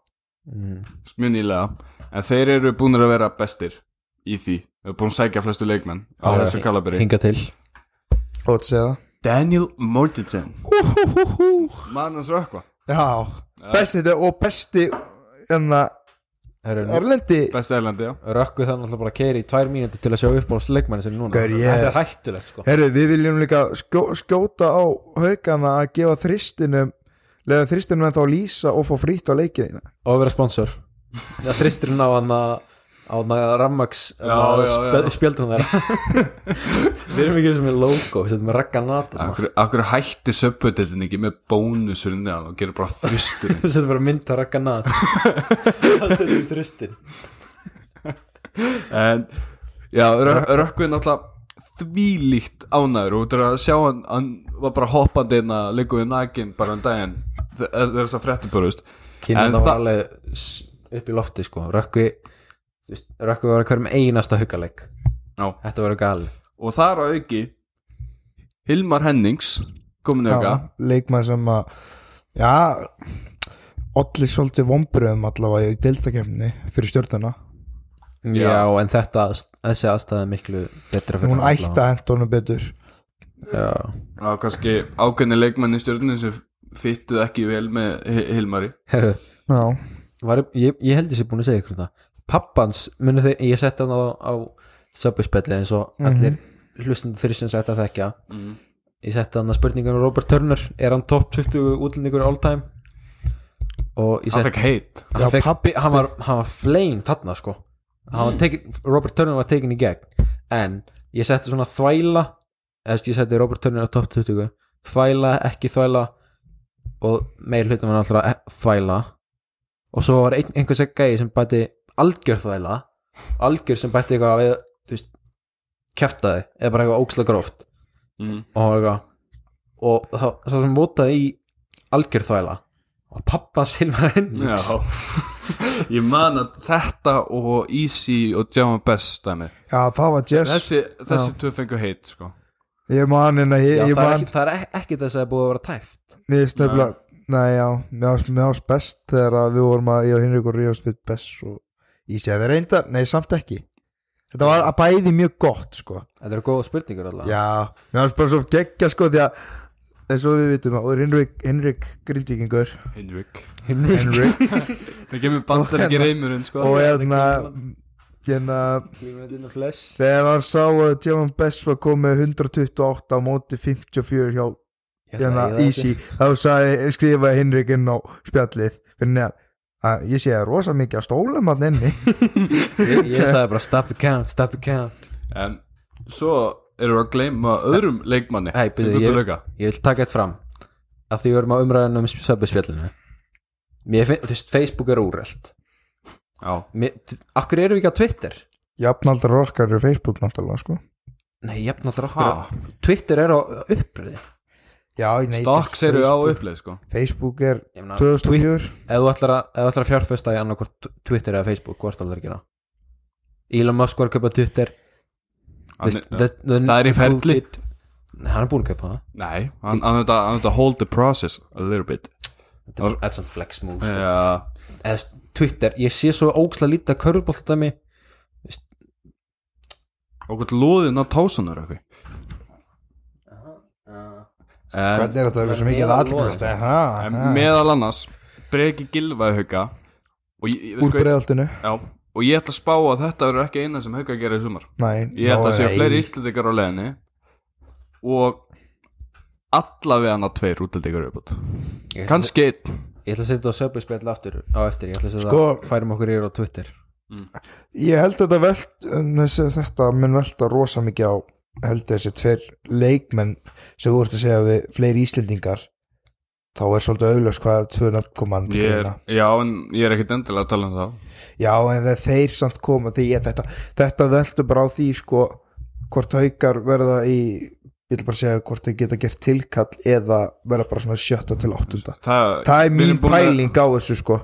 B: mm.
D: mjög nýlega en þeir eru búinir að vera bestir í því, við erum búin að sækja flestu leikmenn á
B: Já,
D: þessu kalabri
B: hinga til
C: Ótt segja
D: Daniel Mortensen mann hans rökkva
C: það Já Besti þetta og besti enna Erlendi
D: besti ælandi, já
B: Rökku það náttúrulega bara að keiri í tvær mínúti til að sjá upp á leikmanni sinni núna
C: Gaur, ég-
B: Þetta er hættulegt sko
C: Herru, við viljum líka skjó, skjóta á haugana að gefa þristinum leða þristinum en þá lýsa og fá frýtt á leikina
B: Og að vera sponsor Það þristurinn á hann að á hann að rammax
D: Já, já, já.
B: spjaldunum þeirra *laughs* Við erum ekki eins og með logo við setjum með rakka nata
D: Akkur, akkur hætti söpböldin ekki með bónusurinn neðan og gerir bara þristur
B: við setjum bara mynd á rakka
D: *laughs*
B: nata það setjum þristin
D: en já, Rö- Rökkvi er náttúrulega þvílíkt ánæður og þú er að sjá hann, hann var bara hoppandi inn að liggu við nakin bara um daginn þegar þess að fréttu börust En
B: kynna það var
D: það-
B: alveg s- upp í lofti sko Rökku þú veist, Rökku var að hverjum einasta hugaleg
D: Já.
B: Þetta var gali
D: og þar á auki Hilmar Hennings komin auka
C: leikmann sem að já, Olli svolítið vombriðum allavega í deltakefni fyrir stjórnuna
B: Já, en þetta, þessi aðstæða er miklu betra fyrir
C: hún
B: hann
C: ætti að henda honum betur
B: Já,
D: og kannski ákveðni leikmenn í stjórnum sem fyttuð ekki vel með Hi- Hilmari
B: herru
C: já,
B: var, ég, ég held ég sé búin að segja ykkur þetta pappans, muni þeir, ég setti hann á, á subwayspelli eins og allir hlustandi þeir sem setti að þekkja ég setti hann að spurningunum Robert Turner er hann top 20 útlendingur all time og ég
D: hann
B: setti
D: fekk heit
B: hann,
C: Já,
B: fekk,
C: pabbi-
B: hann, var, hann var flame þarna sko Hann var tekin, Robert Turner var tekin í gegn en ég setti svona þvæla eða þú veist, ég setti Robert Turner á top 20 þvæla, ekki þvæla og meir hlutum var allra þvæla og svo var ein, einhvers að gæði sem bæti algjör þvæla algjör sem bæti eitthvað við þú veist, kjæftaði eða bara eitthvað óksla gróft
D: mm.
B: og hann var eitthvað og þá, sá sem votaði í algjör þvæla og pappa Silvar Hennings
D: já *laughs* ég man að þetta og Easy og Jama Best dæmi.
C: já það var Jess
D: þessi, þessi tvö fengu heit sko
C: ég man hérna
B: Já,
C: ég,
B: það, er
C: ég man,
B: ekki, það er ek- ekki þess að það er búið að vera tæft
C: ég snöfla nei já, mér ást, mér ást best þegar að við vorum að ég og Hinrik og Ríos við best og ég segi það reyndar, nei samt ekki þetta var að bæði mjög gott sko
B: Þetta eru góða spurningur alltaf
C: Já, mér fannst bara svo geggja sko því að eins og við vitum að Henrik, Henrik Grindvíkingur
D: Henrik
C: Henrik
D: það kemur bandar ekki reymurinn sko
C: og hérna hérna
D: um
B: Þetta
C: þegar hann sá að Jevon Bess var komið 128 á móti 54 hjá hérna Easy þá sagði, skrifaði Henrik inn á spjallið fyrir neðan að ég sé rosa mikið að stólum hann *laughs* inni
B: *laughs* Ég, ég sagði bara stop the count, stop the count
D: en svo erum við að gleyma öðrum leikmanni
B: Æ, byrju,
D: Í
B: ég-
D: Guðbjörga.
B: Ég vil taka eitt fram að því við erum að umræðan um söpusfjallinu Mér finn, þú veist, Facebook er úrreld
D: já,
B: Akkur eru við ekki á Twitter?
C: jafnaldar okkar er Facebook náttúrulega sko
B: Nei, jafn alltaf
D: Ha?
B: okkur Twitter er á uppröði
C: Já, nei,
D: Stocks eru á
C: Facebook-
D: uppleið sko
C: Facebook er
B: Ég meina,
C: 2004
B: ef þú ætlar að, ef þú ætlar að fjárfesta í annarkvort Twitter eða Facebook, hvort ætlar að gera Elon Musk var að köpa Twitter
D: hann,
B: Það
D: Það er í ferli.
B: Hann er búin að köpa það
D: Nei, hann hann þetta hann þetta hold the process a little bit
B: Þetta er bara- þetta er svona flex move sko.
D: Já,
B: Eða, þú veist, Twitter, ég sé svo ógslag lítið að körfubolt þetta mig
D: okkur loðin á tásunar okkur en,
C: Hvernig uh, er þetta eitthvað sem mikið aðlust
D: en meðal annars breki gilvæðhauka og ég, ég,
C: Úr
D: sko,
C: breiðaltinu
D: já, og ég ætla að spá að þetta verður ekki eina sem hauka gera í sumar
C: Nei,
D: Ég ætla að
C: þá
D: séu
C: er-
D: fleiri íslendingar á leðinni og allavega hann að tveir útlendingar upp
B: Ég ætla-
D: kannski einn
B: Ég ætla að setja þetta á söpbyspjall aftur á eftir, ég ætla að setja
C: Sko-
B: það færum okkur yfir á Twitter
C: Ég held þetta velt þessi, Þetta mun velta rosa mikið á held þessi tver leikmenn sem þú ert að segja við fleiri Íslendingar þá er svolítið auðlöfs hvað tvö nöfn koma andir
D: ég er,
C: grunna
D: Já, en ég er ekkit endilega að tala um það
C: Já, en þegar þeir samt koma því ég, þetta, þetta veltur bara á því sko hvort haukar verða í ég ætla bara að segja hvort þeir geta gert tilkall eða verða bara svona sjötta til áttunda
D: Það,
C: Það er
D: við
C: mín
D: erum búin að-
C: pæling á þessu sko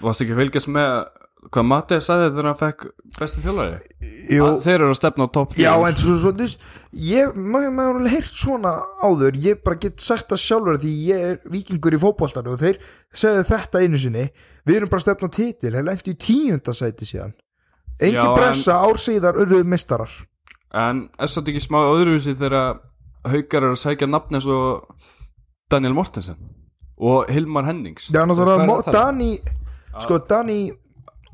D: Varst ekki að fylgjast með hvað Matið sagði þegar hann fekk bestu þjólari
C: Jú,
D: Að þeir eru að stefna á topp
C: já,
D: fjögur.
C: en svo, svo, þú veist, ég, maður, maður hefur heyrt svona áður, ég bara get sagt það sjálfur því ég er vikingur í fótboltanu og þeir segðu þetta einu sinni, við erum bara að stefna á titil, þeir lendi í tíundasæti síðan.
D: Já,
C: Engin
D: en-
C: pressa ár síðar urðuð meistarar.
D: en er satt ekki smá öðruvísi þegar haukar eru að sækja nafn eins og Daniel Mortensen og Hilmar Hennings
C: Já,
B: Hvað er
C: náttúrulega, Mo-
B: að tala um?
C: Dani, sko, Dani,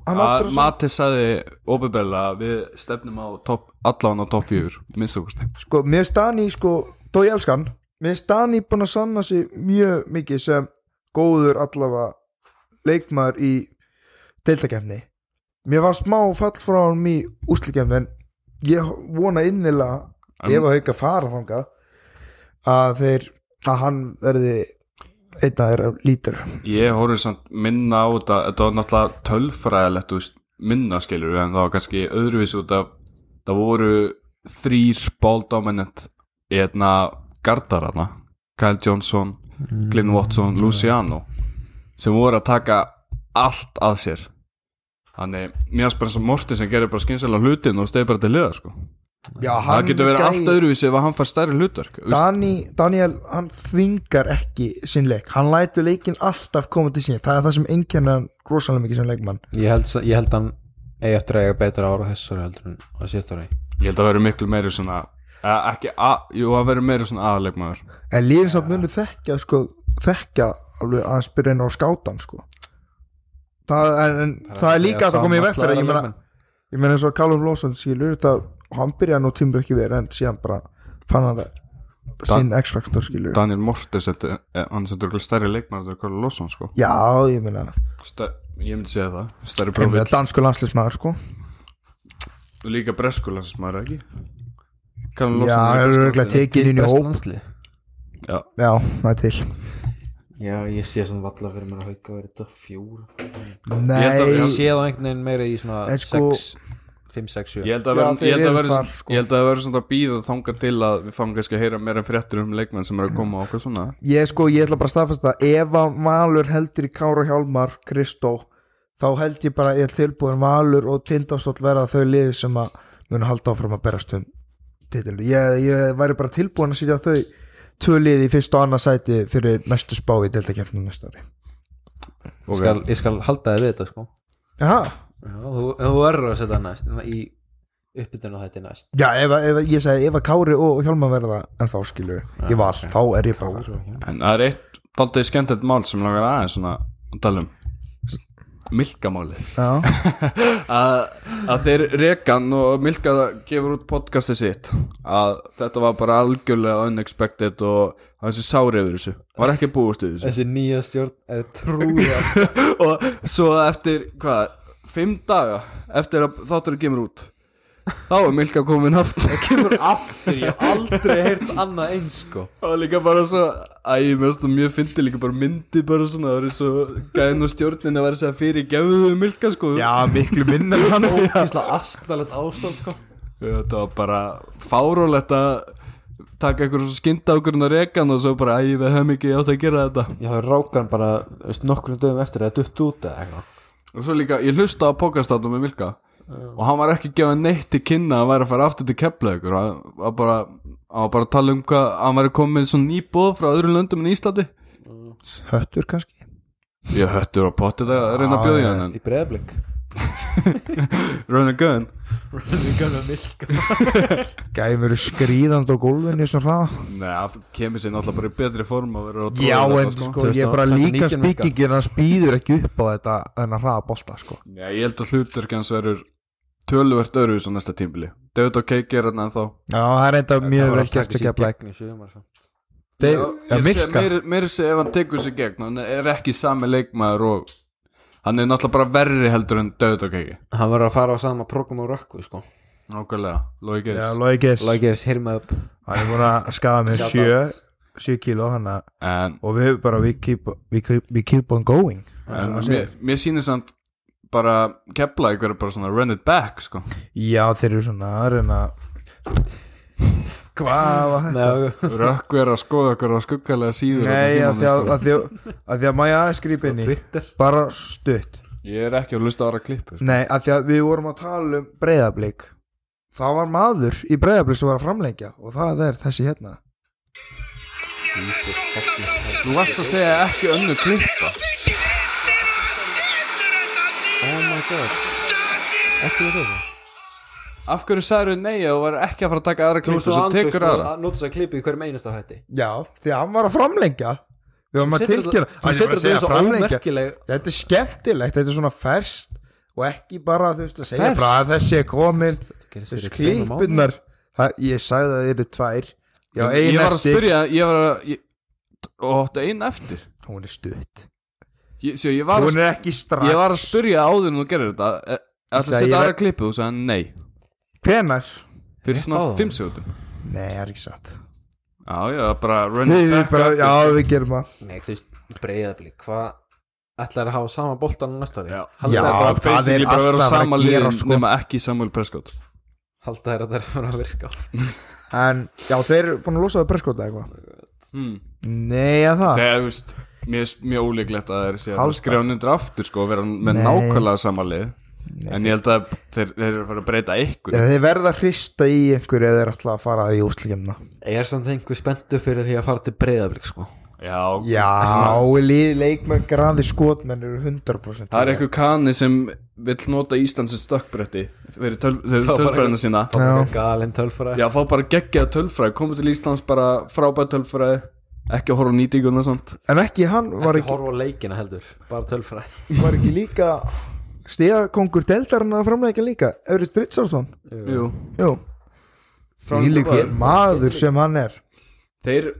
C: hann aftur
D: að
C: að segja.
D: Matið sagði ofinberlega að við stefnum á topp, allan á topp yfir minnst okkur stein
C: sko, mér finnst Dani sko, þó ég elskan mér finnst Dani búin að sanna sig mjög mikið sem góður allavega leikmaður í deildakefni mér var smá fall frá hann í úslikefni en ég vona innilega
D: En-
C: ef að hauka fara þangað að þeir að hann verði einn að þeirra lítur
D: Ég horfði samt minna á þetta þetta var náttúrulega tölfræðilegt þú veist, minna skilur en það var kannski öðruvísi út af það voru þrýr bóldominant eðna gardarana Kyle Johnson,
C: Mm.
D: Glyn Watson, Luciano sem voru að taka allt að sér þannig, mér spyrir sem Mortin sem gerir bara skynselega hlutin og stegi bara til liða sko.
C: Já,
D: það getur verið
C: gæi-
D: allt öðruvísi ef að hann fær stærri hlutverk þú veist.
C: Dani, Daniel, hann þvingar ekki sinn leik, hann lætur leikinn alltaf koma til sín, það er það sem einkenna hann rosalega mikið sem leikmann
B: ég held, ég held hann eigi eftir að eiga betra ára þessari heldur en á séttur
D: ég held að vera miklu meiri svona eða ekki, að, jú að vera meiri svona aðleikmaður
C: En liðin samt munur þekkja sko, þekkja alveg að spyrja inn á skátan sko. það, en, en, það, er líka hægt að koma í veg fyrir ég meina, ég meina eins og Callum Lawson skilur þetta, hann byrjaði nú tímur ekki verið en síðan bara fann hann það sinn X-Factor skilur
D: Daniel Mortis þetta er- eh, hann setur okkur stærri leikmann þetta er Karl Lósson sko
C: Já, ég meina,
D: Stær, ég myndi segja það, stærri
C: ég meina
D: prófið
C: dansku landslismæður sko
D: líka breskula sem maður ekki Karl Lósson
C: Já, það eru örgulega tekin inn í hóp
B: landslið
D: já,
C: Já, það er til
B: já, ég sé svona valla fyrir mér að hauka verið þetta fjóra
D: held að-
C: Nei,
B: ég sé það einhvern veginn meira í svona
C: En sko-
B: 5, 6,
D: ég
B: 7
D: held að
C: Já,
D: vera
C: þeir
D: ég held að
C: eru
D: vera,
C: þar,
D: þar,
C: sko.
D: ég held að vera svona að býða þanga til að við fáum kannski að heyra meira fréttir um leikmenn sem eru að koma á okkur svona
C: ég sko, ég ætla bara að staðfesta að ef að Valur heldur í Kára Hjálmar Kristó, þá held ég bara ég er tilbúin Valur og Tindastóll verða þau liði sem að munu halda áfram að berast um titil ég, ég væri bara tilbúin að sitja þau tvö liði í fyrst og annað sæti fyrir næstu spá í deltakefnum næsta ári
B: ég skal, ég skal halda þið við þetta sko
C: Jaha,
B: já, þú, þú verður að setja næst í uppbytun á þetta næst
C: já, ef, að- ef, að- ég segi ef að Kári og Hjálmar verða en þá skilur ég val, þá er ég bara þar
D: en það er eitt daldið skemmtilegt mál sem langar aðeins svona að tala um Milkamáli
C: Já,
D: að, að þeir rekan og Milka gefur út podcasti sitt að þetta var bara algjörlega unexpected og hann sem sári yfir þessu var ekki búist yfir
B: *laughs*
D: þessu
B: þessi nýja stjórn er trúið
D: og svo eftir hvað, fimm daga eftir að þátturinn kemur út þá er Milka komin aftur
B: kemur aftur, ég hef aldrei heyrt annað *laughs* eins sko
D: *laughs* og líka bara svo að ég meðast og mjög fyndi líka bara myndi bara svona það eru svo gæðin og stjórnin að vera að segja fyrir gefðu Milka sko
C: já miklu minna hann
B: ókýrslega astalett ástand sko
D: Þetta var bara fárólegt að taka eitthvað svo skynda okkur en að rekan og svo bara æ, við höfum ekki átt að gera þetta
B: Já, það rákar hann bara þú veist, nokkrum dögum eftir að dutt út eða eitthvað.
D: og svo líka, ég hlusta á pokastatum með Milka og hann var ekki gefað neitt til kynna að væri að fara aftur til kepla ykkur hann var bara, hann var bara að tala um hvað hann væri komið með svona nýbóð frá öðrum löndum en Íslandi
C: Höttur kannski
D: ég höttur á potið að reyna að bjóða í hann en
B: Í breðblik.
D: run and gun
C: Gæmur skrýðand á gólfinu sem hrað
D: Nei, hann kemur sér náttúrulega bara í betri form að vera að
C: Já,
D: tróða
C: en
D: þetta,
C: sko, ég er bara
B: 2019
C: líka
B: virka.
C: spíkingin hans býður ekki upp á þetta en að hraða bolta, sko
D: Já, ég held að hlutverk hans verður töluvert öðruvis á næsta tímbili David og Keiki er hann ennþá
C: Já, það er enda mjög vel gert ekki að blæk
B: í sjöfumar.
C: Dave- já,
D: Ég sé
C: Milka.
D: meira- meira sé ef hann tekur sér gegn hann er ekki sami leikmaður og hann er náttúrulega bara verri heldur en David og Keiki
B: Hann verður að fara á sama program á rökku, sko.
D: Nákvæmlega, Lói
C: Já,
D: Geis
C: Lóikis, hann
B: Lægeris, hear me up.
C: er búin að skafa mig
B: Shout
C: sjö
B: out.
C: sjö kíló, hann að
D: En
C: og við bara, we keep, we keep, we keep on going
D: en mér- mér sýnir samt bara kepla ykkur bara svona run it back sko
C: Já, þeir eru svona að reyna Hvað var þetta?
D: Rökku er að skoða ykkur á skuggalega síður
C: Nei,
D: þarna
C: að því
D: símanum,
C: að,
D: sko.
C: að, því að, að því að maður aðeins grípa inn í bara stutt
D: Ég er ekki að hlusta á aðra klippu
C: Nei, af því að við vorum að tala um breyðablík Það var maður í breyðablík sem var að framleikja og það er þessi hérna
D: Þú varst að segja ekki önnu klippa
B: Oh my god Ekki við þetta
D: Af hverju sagður þau nei að þú var ekki að fara að taka aðra klippu Svo tekur aðra
B: að nota þess að klippu í hverjum einasta hætti
C: Já, því að hann var að framleikja Við varum að tilkynna
B: Þú
C: Hann er bara
B: setur
C: að segja
B: þetta svo
C: framleikja
B: ómerkileg
C: Þetta er skemmtilegt, þetta er svona ferskt og ekki bara þú veist að segja
B: Ferskt?
C: bara að þessi er komin
B: gerist
C: þessi
B: fyrir tveimur
C: klippunar ég sagði að það eru tvær Já, ein
D: Ég var að
C: eftir.
D: spyrja Ég var að ég- Og hóttu einn eftir
C: hún er stutt
D: Ég- Sjö, ég var að
C: hún er ekki strax
D: Ég var að spyrja áður en þú gerir þetta Er það
C: sagði,
D: að
C: ég
D: setja
C: var-
D: aðra klippu? Þú sagði nei
C: hvenar
D: Fyrir
B: Rétt
D: svona
B: áðan.
D: 5 sekundum
C: nei, það er ekki satt
D: Já, já, bara run
C: við,
D: it
C: við
D: back
C: bara,
D: aftur.
C: já við gerum það
B: Nei, þú veist, breyðablík Hvað ætlar að hafa sama boltan á næsta ári?
D: Já.
B: Halda
C: Já.
B: þær
D: bara
B: bara-
C: það er
D: basically bara vera
C: alltaf að
D: sama
C: gera,
D: liðin
C: sko.
D: nema ekki Samuel Prescott
B: halda þær að það er að fara að virka
C: en já, þeir eru búin að losa það breskóta eitthvað
D: hmm.
C: nei, að það
D: þegar, þú veist, mér er mjög ólíklegt að þeir sé að
C: Ah. Halda.
D: skrjána undir aftur sko og vera með
C: Nei.
D: nákvæmlega sama lið en ég held að þeir, þeir eru að fara að breyta ykkur
C: Já, þeir verða að hrista í einhverju eða þeir ætla að fara í úslikjumna
B: Ég er samt einhver spenntu fyrir því að fara til breyðablík sko.
D: já,
C: já, lið- leikmenn graði skotmenn eru 100%
D: það er einhver kanni sem vill nota Ísland sem stökkbretti fyrir töl,
B: Fá bara
D: tölfræðina sína
B: Það er bara galin tölfræði
D: já, fá bara geggjað tölfræði komið til Íslands bara frábæð tölfræði ekki að horfa á nýtinguna samt
C: en ekki, hann var
B: Ekki
C: ekki,
B: horfa á leikina heldur, bara tölfræði
C: var ekki líka stíðakongur deildarinn að framleika líka Eurist Richardson
D: jú
C: Jú Þvílíkur maður sem hann er
D: þeir,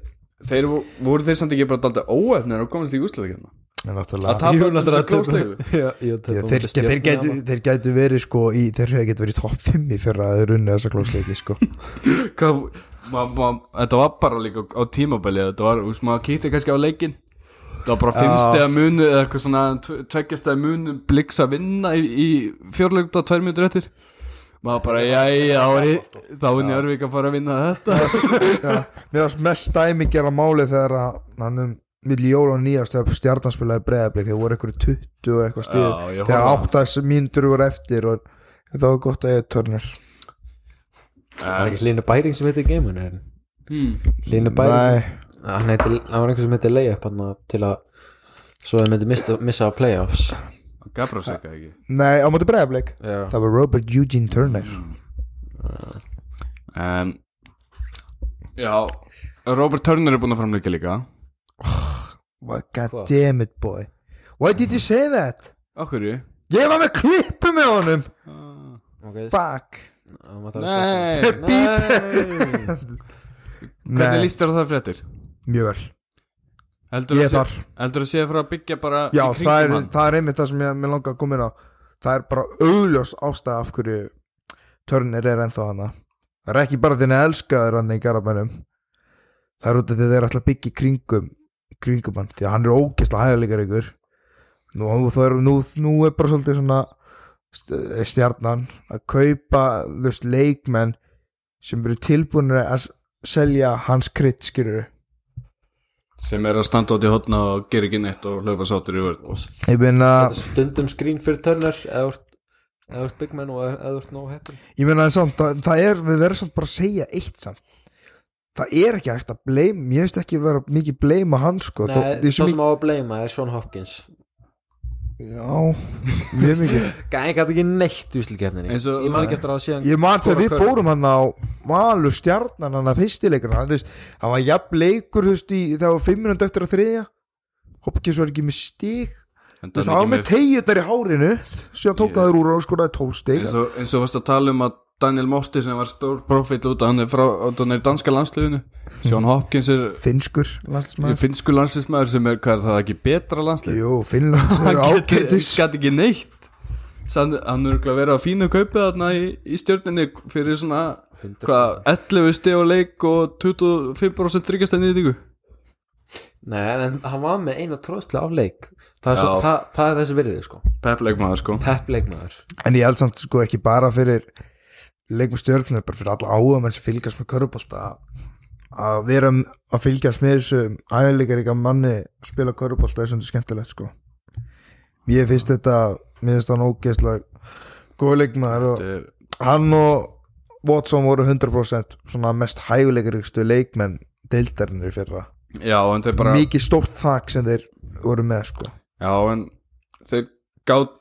D: þeir vo- voru þeir samt ekki bara daldið óefnir að komast í úsluðikefna
C: En
D: að
C: náttúrulega
D: tapa þessu klósleifu
B: *laughs* Já, jú,
C: Ég,
B: þetta
C: þeir,
B: var
C: þeir, gætu,
B: stjörnuna.
C: þeir gætu verið sko í, þeir hefði gætu verið í topp 5 í fyrra að þeir unni þessa klósleiki sko
D: Hvað- ma- ma- þetta var bara líka á tímabæli þetta var, þú veist, maður kýtti kannski á leikin það var bara fimmstega munu eða eitthvað svona tveggjastega munu bliks að vinna í, í fjórleikta tvær mínútur eftir maður bara, jæja, þá er ég- þá er ég örvík að fara að vinna *laughs* þetta
C: Já, Mér varst mest dæmi gera máli þegar að hann um milli jól og nýjast þegar stjarnanspilaði breðablik þegar voru einhverju 20 og eitthvað
D: Já,
C: stíð
D: ég
C: þegar
D: horfði á
C: áttast mínútur voru eftir og það var gott að ég törnir
B: Það
D: Eh,
B: er ekki Línu Bæring sem heitir geimun
D: hmm.
B: Línu Bæring
C: Nei,
B: hann, heitir, hann var einhver sem heitir layup hann til að svo þeir myndi missa, missa á playoffs
D: Gabra segja ekki
C: nei, á móti breðablik
B: Já.
C: Það var Robert Eugene Turner
D: Mm. en, já, Robert Turner er búin að framleika líka
C: What God damn it boy Why did you say that?
D: okkur í
C: Ég var með klippu með honum
B: okay.
C: Fuck
B: Á, maður tala um
D: nei,
B: Nei
D: hvernig
C: Nei.
D: líst þér á það fréttir?
C: Mjög vel
D: heldur
C: Ég
D: að sé-
C: þar.
D: heldur að sé að fara að byggja bara
C: Já,
D: í
C: það er,
D: kringum hann
C: það er einmitt það sem ég mér langar að koma inn á Það er bara augljós ástæða af hverju Turner er ennþá hana Það er ekki bara þinn að elska þér hann í garabænum Það er út af því að þeir ætla að byggja í kringum kringum hann, því að hann er ógeðslega hæðalíkar ykkur nú, þá er, nú, nú er bara svolítið svona st- eh, stjarnan að kaupa þú veist, leikmenn sem eru tilbúinir að s- selja hans krydd skilur
D: sem er að standa átt í hotna og gera ekki neitt og hlaupa sáttur í vörð
C: ég meina
B: Þetta er stundum skrín fyrir Turner eða þú ert- eða þú ert Big Man og eða eða þú ert nóg happy
C: Ég meina en samt, það, það er, við verðum samt bara að segja eitt samt Það er ekki hægt að bleim, ég veist ekki vera mikið bleim á hann sko
B: Nei,
C: Þó-
B: það
C: því sem
B: sem á að bleima er Sean Hopkins
C: ég, Já, mjög mikið
B: Gæði gæti ekki neitt úslikefninni
D: Eins og-
B: Ég man ekki eftir að síðan
C: Ég man þegar við fórum hann á Valur stjarnan hann að fyrstileikuna Þú veist, hann var jafn leikur þú veist í, þegar var fimm minúti eftir að þriðja Hopkins var ekki með stig Þú veist, hann var með tegjurnar í hárinu Síðan tók
D: Ég-
C: það þér úr og skoraði tól stig
D: eins og, eins og varst að tala um að Daniel Mortis sem var stór profit út að hann er frá að hann er í danska landsliðinu Sean Hopkins er
C: Finskur,
D: í
C: landsmaður
D: finnsku landsliðsmaður sem er, hvað er það ekki betra landslið
C: Jú,
D: *laughs*
C: Finnland, það eru
D: hann getur
C: ágætis
D: skat ekki neitt Sann, hann er örugglega verið að fína kaupið þarna í, í stjörninni fyrir svona hvað, 11 steg á leik og 25% þryggjastæð nýtingu
B: Nei, en hann var með eina tróðslega á leik Það er, svo,
D: Já.
B: það, það er þessi virðið sko
D: peppleikmaður sko
B: Pep leikmaður
C: En ég held samt sko ekki bara fyrir leikum stjórnum, bara fyrir alla áhugamenn sem fylgjast með körubólta að vera m- að fylgjast með þessum æðleikaríka manni að spila körubólta er svolítið skemmtilegt sko Mér finnst þetta mér finnst hann ógeðslega góð leikmaður og
D: Þetta er-
C: hann og Watson voru 100% svona mest hæguleikaríkstu leikmenn deildarinnu fyrir það
D: Já, en þetta er bara
C: mikið stórt þak sem þeir voru með sko.
D: Já, en þeir gátt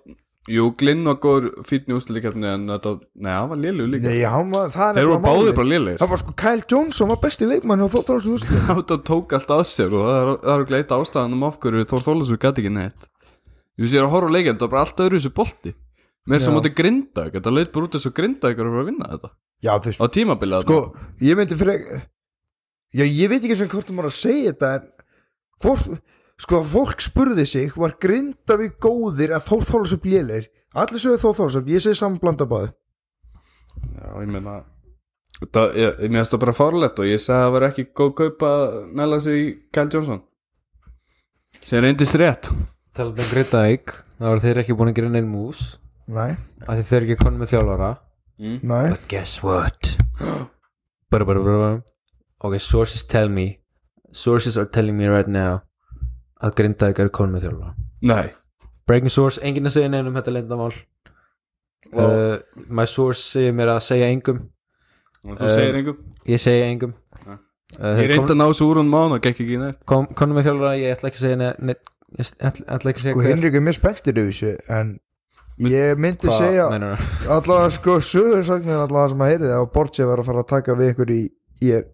D: Jú, Glinn var góður fýtni ústilíkefni en þetta, nei, hann var lélugur líka
C: Nei, hann var, það er
D: Þeir voru
C: nefnilega
D: báðir
C: málið.
D: bara lélegir *laughs*
C: það var sko Kyle Johnson var besti leikmann og þó þrálsum úsli
D: Þetta tók allt að sér og það er, það er gleitt ástæðan um af hverju Þór Þólasvík gæti ekki neitt Þú veist, ég er að horfa á leikjum, það var bara allt öðru þessu bolti Mér sem
C: Já.
D: móti grinda, þetta leit bara út þessu grinda ykkur að vinna þetta
C: já þeir
D: Á tímabilið
C: sko, ég myndi fyrir já, ég veit ekki sem hvort þú maður að segja þetta en fólk, sko, fólk spurði sig, var Grindavík góðir að Þór Þólasöp lélir allir sögðu Þór Þólasöp, ég segi samblanda báðu
D: Já, ég meina Þetta, ég, ég meðast það bara fárlegt og ég sagði að það var ekki góð kaupa að næla sig í Kyle Johnson sem reyndist rétt
B: Talað um Grindavík Það var þeir ekki búin að gera neinn mús
C: nei,
B: af því þeir eru ekki konum með þjálfara
D: Mm.
C: nei,
B: But guess what bara, bara, bara, bara. Ok, sources tell me Sources are telling me right now að Grindavík eru konum með þjálfara
D: Nei
B: Breaking source, enginn að segja neinn um þetta leyndamál
D: Vá.
B: uh, My source segir mér að segja engum
D: og þú segir engum
B: Ég segja engum
D: Ja.
B: uh,
D: Ég reyndi að ná þessu úr hún mánu og gekk ekki í neitt
B: kom, Konum með þjálfara, ég ætla ekki að segja neinn ne, Ég ætla, ætla ekki að segja
C: sko Henrik er mér spenntir yfir þessu en ég myndi segja
B: meinar það?
C: allavega sko sögursagnin allavega sem að heyri það og Borgja var að fara að taka við ykkur í ég er,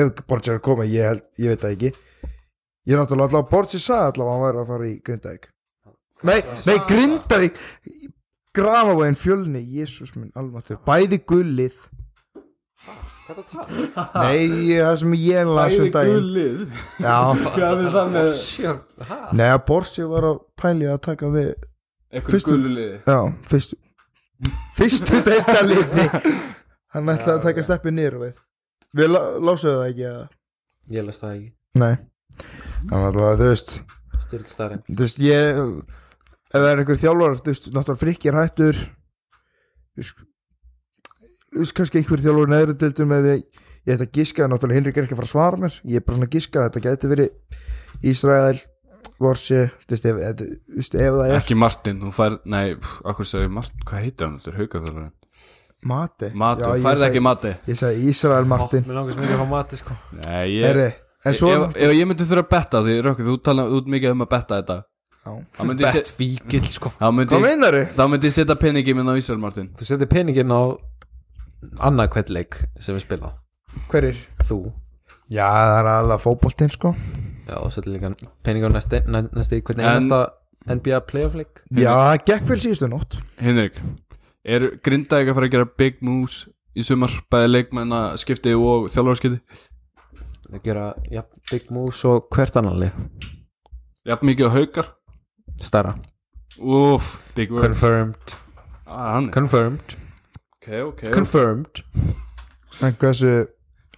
C: ef Borgja er að koma ég held, ég veit það ekki ég er náttúrulega allavega Borgja sagði allavega að hann væri að fara í Grindavík nei, nei Grindavík Grafavóin fjölni, Jésús minn almatur, bæði gullið Nei, það sem ég las um daginn
D: gullið
C: Já,
D: Hvað er það með
C: nei að Borsi var að pæli að taka við
D: Ekkur
C: Fyrstu-
D: gulluliði
C: Já, fyrstu *laughs* Fyrstu deildaliði Hann ætlaði að taka steppi nýr við Við lá- lásuðu það ekki að
B: Ég las það ekki,
C: Nei Þannig að það, þú veist
B: styrl starinn
C: Þú veist, ég Ef það er einhver þjálfar, þú veist, náttúrulega frikki er hættur Þú veist Þú veist, kannski einhver þjálfar neðri deildum ef ég Ég ætla að giska, náttúrulega Hinrik er ekki að fara að svara mér Ég er bara svona að giska, þetta gæti verið Ísrael, Vorsi Þú veist, ef, ef, þú veist, ef það er
D: Eh. Ekki Martin, hún fær, nei, pff, akkur segir Martin, hvað heitir hann, þetta er haukaþjálfurinn
C: Mati
D: Mati,
C: Já, ég
D: færði
C: sagði-
D: ekki Mati
C: Ég sagði Ísrael, Martin
B: Mér langar sem ekki að fá mati sko
D: Nei, ég,
C: Herri, en svo
D: ef, ef ég myndi þurfa að betta því, Rökkur, þú tala út mikið um að betta þetta
C: Já.
D: Þá myndi ég
B: Bett
D: se-
B: fíkil sko
D: þá myndi
C: Hvað
D: ég-
C: meinar þau?
D: Þá myndi ég setja peningi minn á Ísar Martin
B: Þú setir peningin á annað hvert leik sem við spila
C: Hverir?
B: Þú
C: Já, það er alveg fótboltinn sko
D: Mm.
B: Já, og setir líka pening á næsti, næ- næsti hvernig
D: En-
B: einasta NBA playoff leik
C: Já, það gekk vel síðustu nótt
D: Henrik, er Grindavík að fara að gera big moves í sumar bæði leikmenna skipti og þjálfarskipti
B: Þeir gera ja, big moves og hvert annan leik
D: jafn mikið á haukar
B: Stara
D: Úf, big words
B: Confirmed
D: ah, hann er-
B: Confirmed
D: Ok, ok
B: Confirmed
C: En hversu,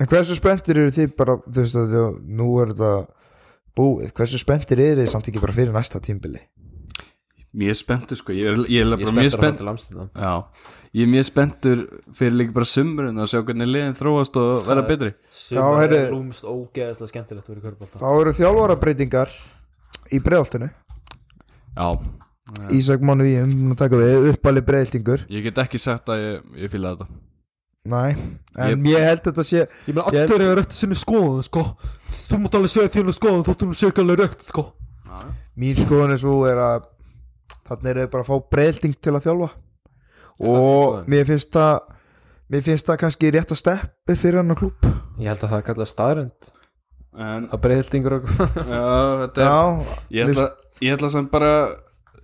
C: en hversu spenntir eru þið bara Þú veist að þjó, nú er þetta búið Hversu spenntir eru þið samt ekki bara fyrir næsta tímbili?
D: Mjög spenntur sko, ég er, ég er
B: Ég
D: bara
B: spenntur að
D: mjög
B: fara
D: spenntur
B: til Amsterdam
D: Já, ég er mjög spenntur fyrir líka bara sumurinn að sjá hvernig liðin þróast og verða betri
C: Já,
B: Sumar er
C: heyrðu.
B: rúmst ógeðaslega skemmtilegt fyrir körbólta
C: Þá eru þjálfarabreitingar í breðoltinu
D: Já,
C: Ísak Mánu í um að taka við uppalið breðoltingur
D: ég get ekki sagt að ég, ég fíla þetta
C: Næ, en
D: Ég-
C: ég held að þetta sé
B: Ég meina
C: allir
B: eru rétt sinni skoðun sko Þú mátt alveg segja þínu skoðun þóttum þú segja alveg rétt sko
C: mín skoðun er svo er að þannig er þau bara að fá breylding til að þjálfa og
B: skoðun.
C: mér finnst það mér finnst það kannski rétt að steppi fyrir hann á klúb
B: Ég held að það kalla staðrönd
D: En,
B: að breyðildingur og *laughs*
D: já, þetta er
C: já,
D: Ég ætla, ég ætla sem bara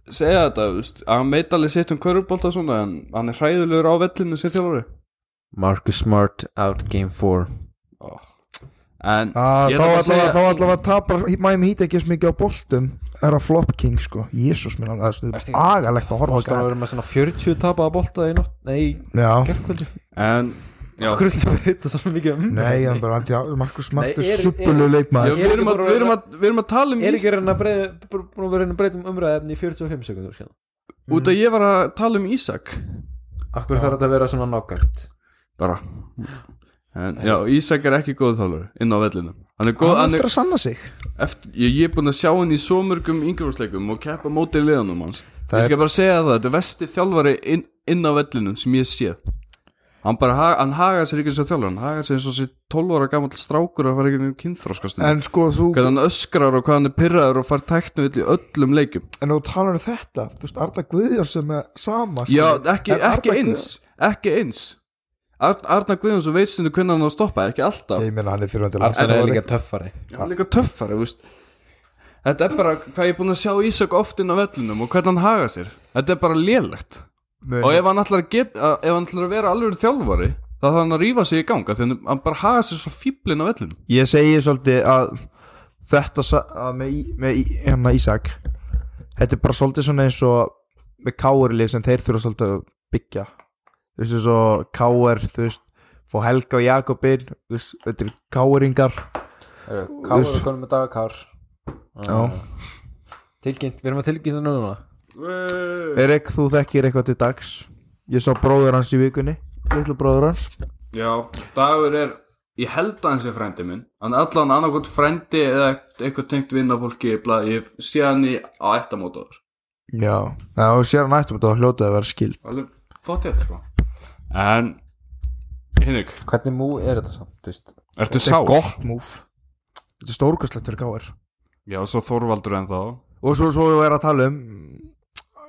D: segja þetta, þú veist, að hann veit alveg sitt um körfubolta og svona, en hann er hræðulegur á vellinu sér þjálfari
B: Marcus Smart out game 4
D: oh. en
C: að,
D: ég
C: þá
D: ætla bara að
C: allavega
D: segja
C: þá allavega tapar mæmi hít ekki eins mikið á boltum er að flop king sko, jésus minn alveg það er stundum agalegt að horfa á
B: Boston
C: það
B: verður með svona 40 tapaða bolta í nótt Nei,
C: já,
B: gerkvöldu
D: en, já,
B: Akkur viltu breyta svo mikið um
C: nei, hann bara því að Markus Smart
B: Nei,
C: er
B: er-
C: súpulu
D: já
C: leikmaður
D: við, erum að,
B: bara-
D: við, erum að, við erum að tala um
B: Er
D: Ís
B: ekki reyna að breyða Búin að vera reyna að breyta um umræðefni í 45 sekundur skilja.
D: út að ég var að tala um Ísak
B: Akkur þarf þetta að vera svona nokkant
D: bara en, já, Ísak er ekki góð þjálfari inn á vellinu hann er góð,
C: hann
D: hann
C: eftir
D: er,
C: að sanna sig
D: eftir, ég, ég er búin að sjá hann í svo mörgum yngjöfarsleikum og keppa mótið liðanum hans
C: Það
D: Ég
C: er,
D: skal bara segja það, þetta er vesti þjálfari inn, inn á vellinum sem ég sé Hann bara, ha- hann haga sér ekki eins og þjálfari Hann haga sér eins og sér 12 ára gamall strákur að fara ekki um kynþróskastunum
C: en sko þú
D: Hvernig hann öskrar og hvað hann er pyrraður og fær tæknu í öllum leikum
C: En þú talar um þetta, þú veist, Arda Guðjón sem er sama skilur.
D: Já, ekki,
C: Sko, En Arda
D: ekki
C: Guðjóns-
D: eins Ekki eins Ar Arna Guðjóns og veitsinu hvernig hann á að stoppa Ekki alltaf
C: Ég meina hann er fyrir
B: Arnar er líka töffari
D: Hann er líka töffari, þú veist Þetta er bara hvað ég er búin að sjá Ísak oft inn á vellinum og hvernig hann haga sér Þetta er bara lélegt Og ef hann ætlar að, get, að, ef hann ætlar að vera alveg þjálfari þá þarf hann að rífa sig í ganga því hann- hann bara haga sér svo fíblin á vellinum
C: Ég segi svolítið að þetta sa- að með, Í- með Í- hérna Ísak þetta er bara svolítið svona eins og með káurlið sem þeir þurfa svolítið að byggja þú veist, eins og káur þú veist, fó Helga og Jakobin þú veist, þetta eru káuringar
B: Kár
C: Þú-
B: er konum með dagakár
C: Já.
B: Tilkynnt, við erum að tilkynna núna
C: Erik, þú þekkir eitthvað til dags ég sá bróður hans í vikunni litlu bróður hans
D: Já, dagur er ég held að hans er frændi minn hann er allan annarkot frændi eða eitthvað tengt vinna fólki ég sé hann í á eittamótaður
C: Já, Já og sér hann ættum þetta hljótið að vera skild
D: alveg fótt ég sko en Hinrik,
B: Hvernig mú er þetta samt, þú veist
D: ertu
C: Þetta er gott múf Þetta er stórkastlegt fyrir káur
D: Já, svo Þorvaldur en þá
C: Og svo, svo er að tala um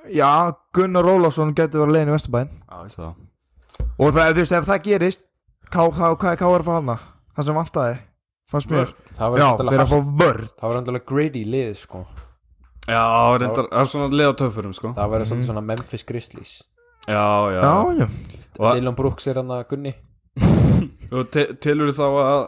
C: Já, Gunnar Ólafsson getur verið leiðin í Vesturbæn
D: Já, ég sé það
C: Og það, þú veist, ef það gerist Ká, þá, hvað er Káar að fá hana? Það sem vantaði, fannst mér
B: Það var
C: Já,
B: endalega
C: þeir að fá vörð
B: Það var endalega greedy lið, sko
D: Já, reyndar, það er svona leið á töffurum sko
B: Það var svolítið svona Memphis Grizzlies
D: Já, já,
C: Já, já,
D: Og-
B: Dylan Brooks er hann að Gunni
D: Og te telur þá að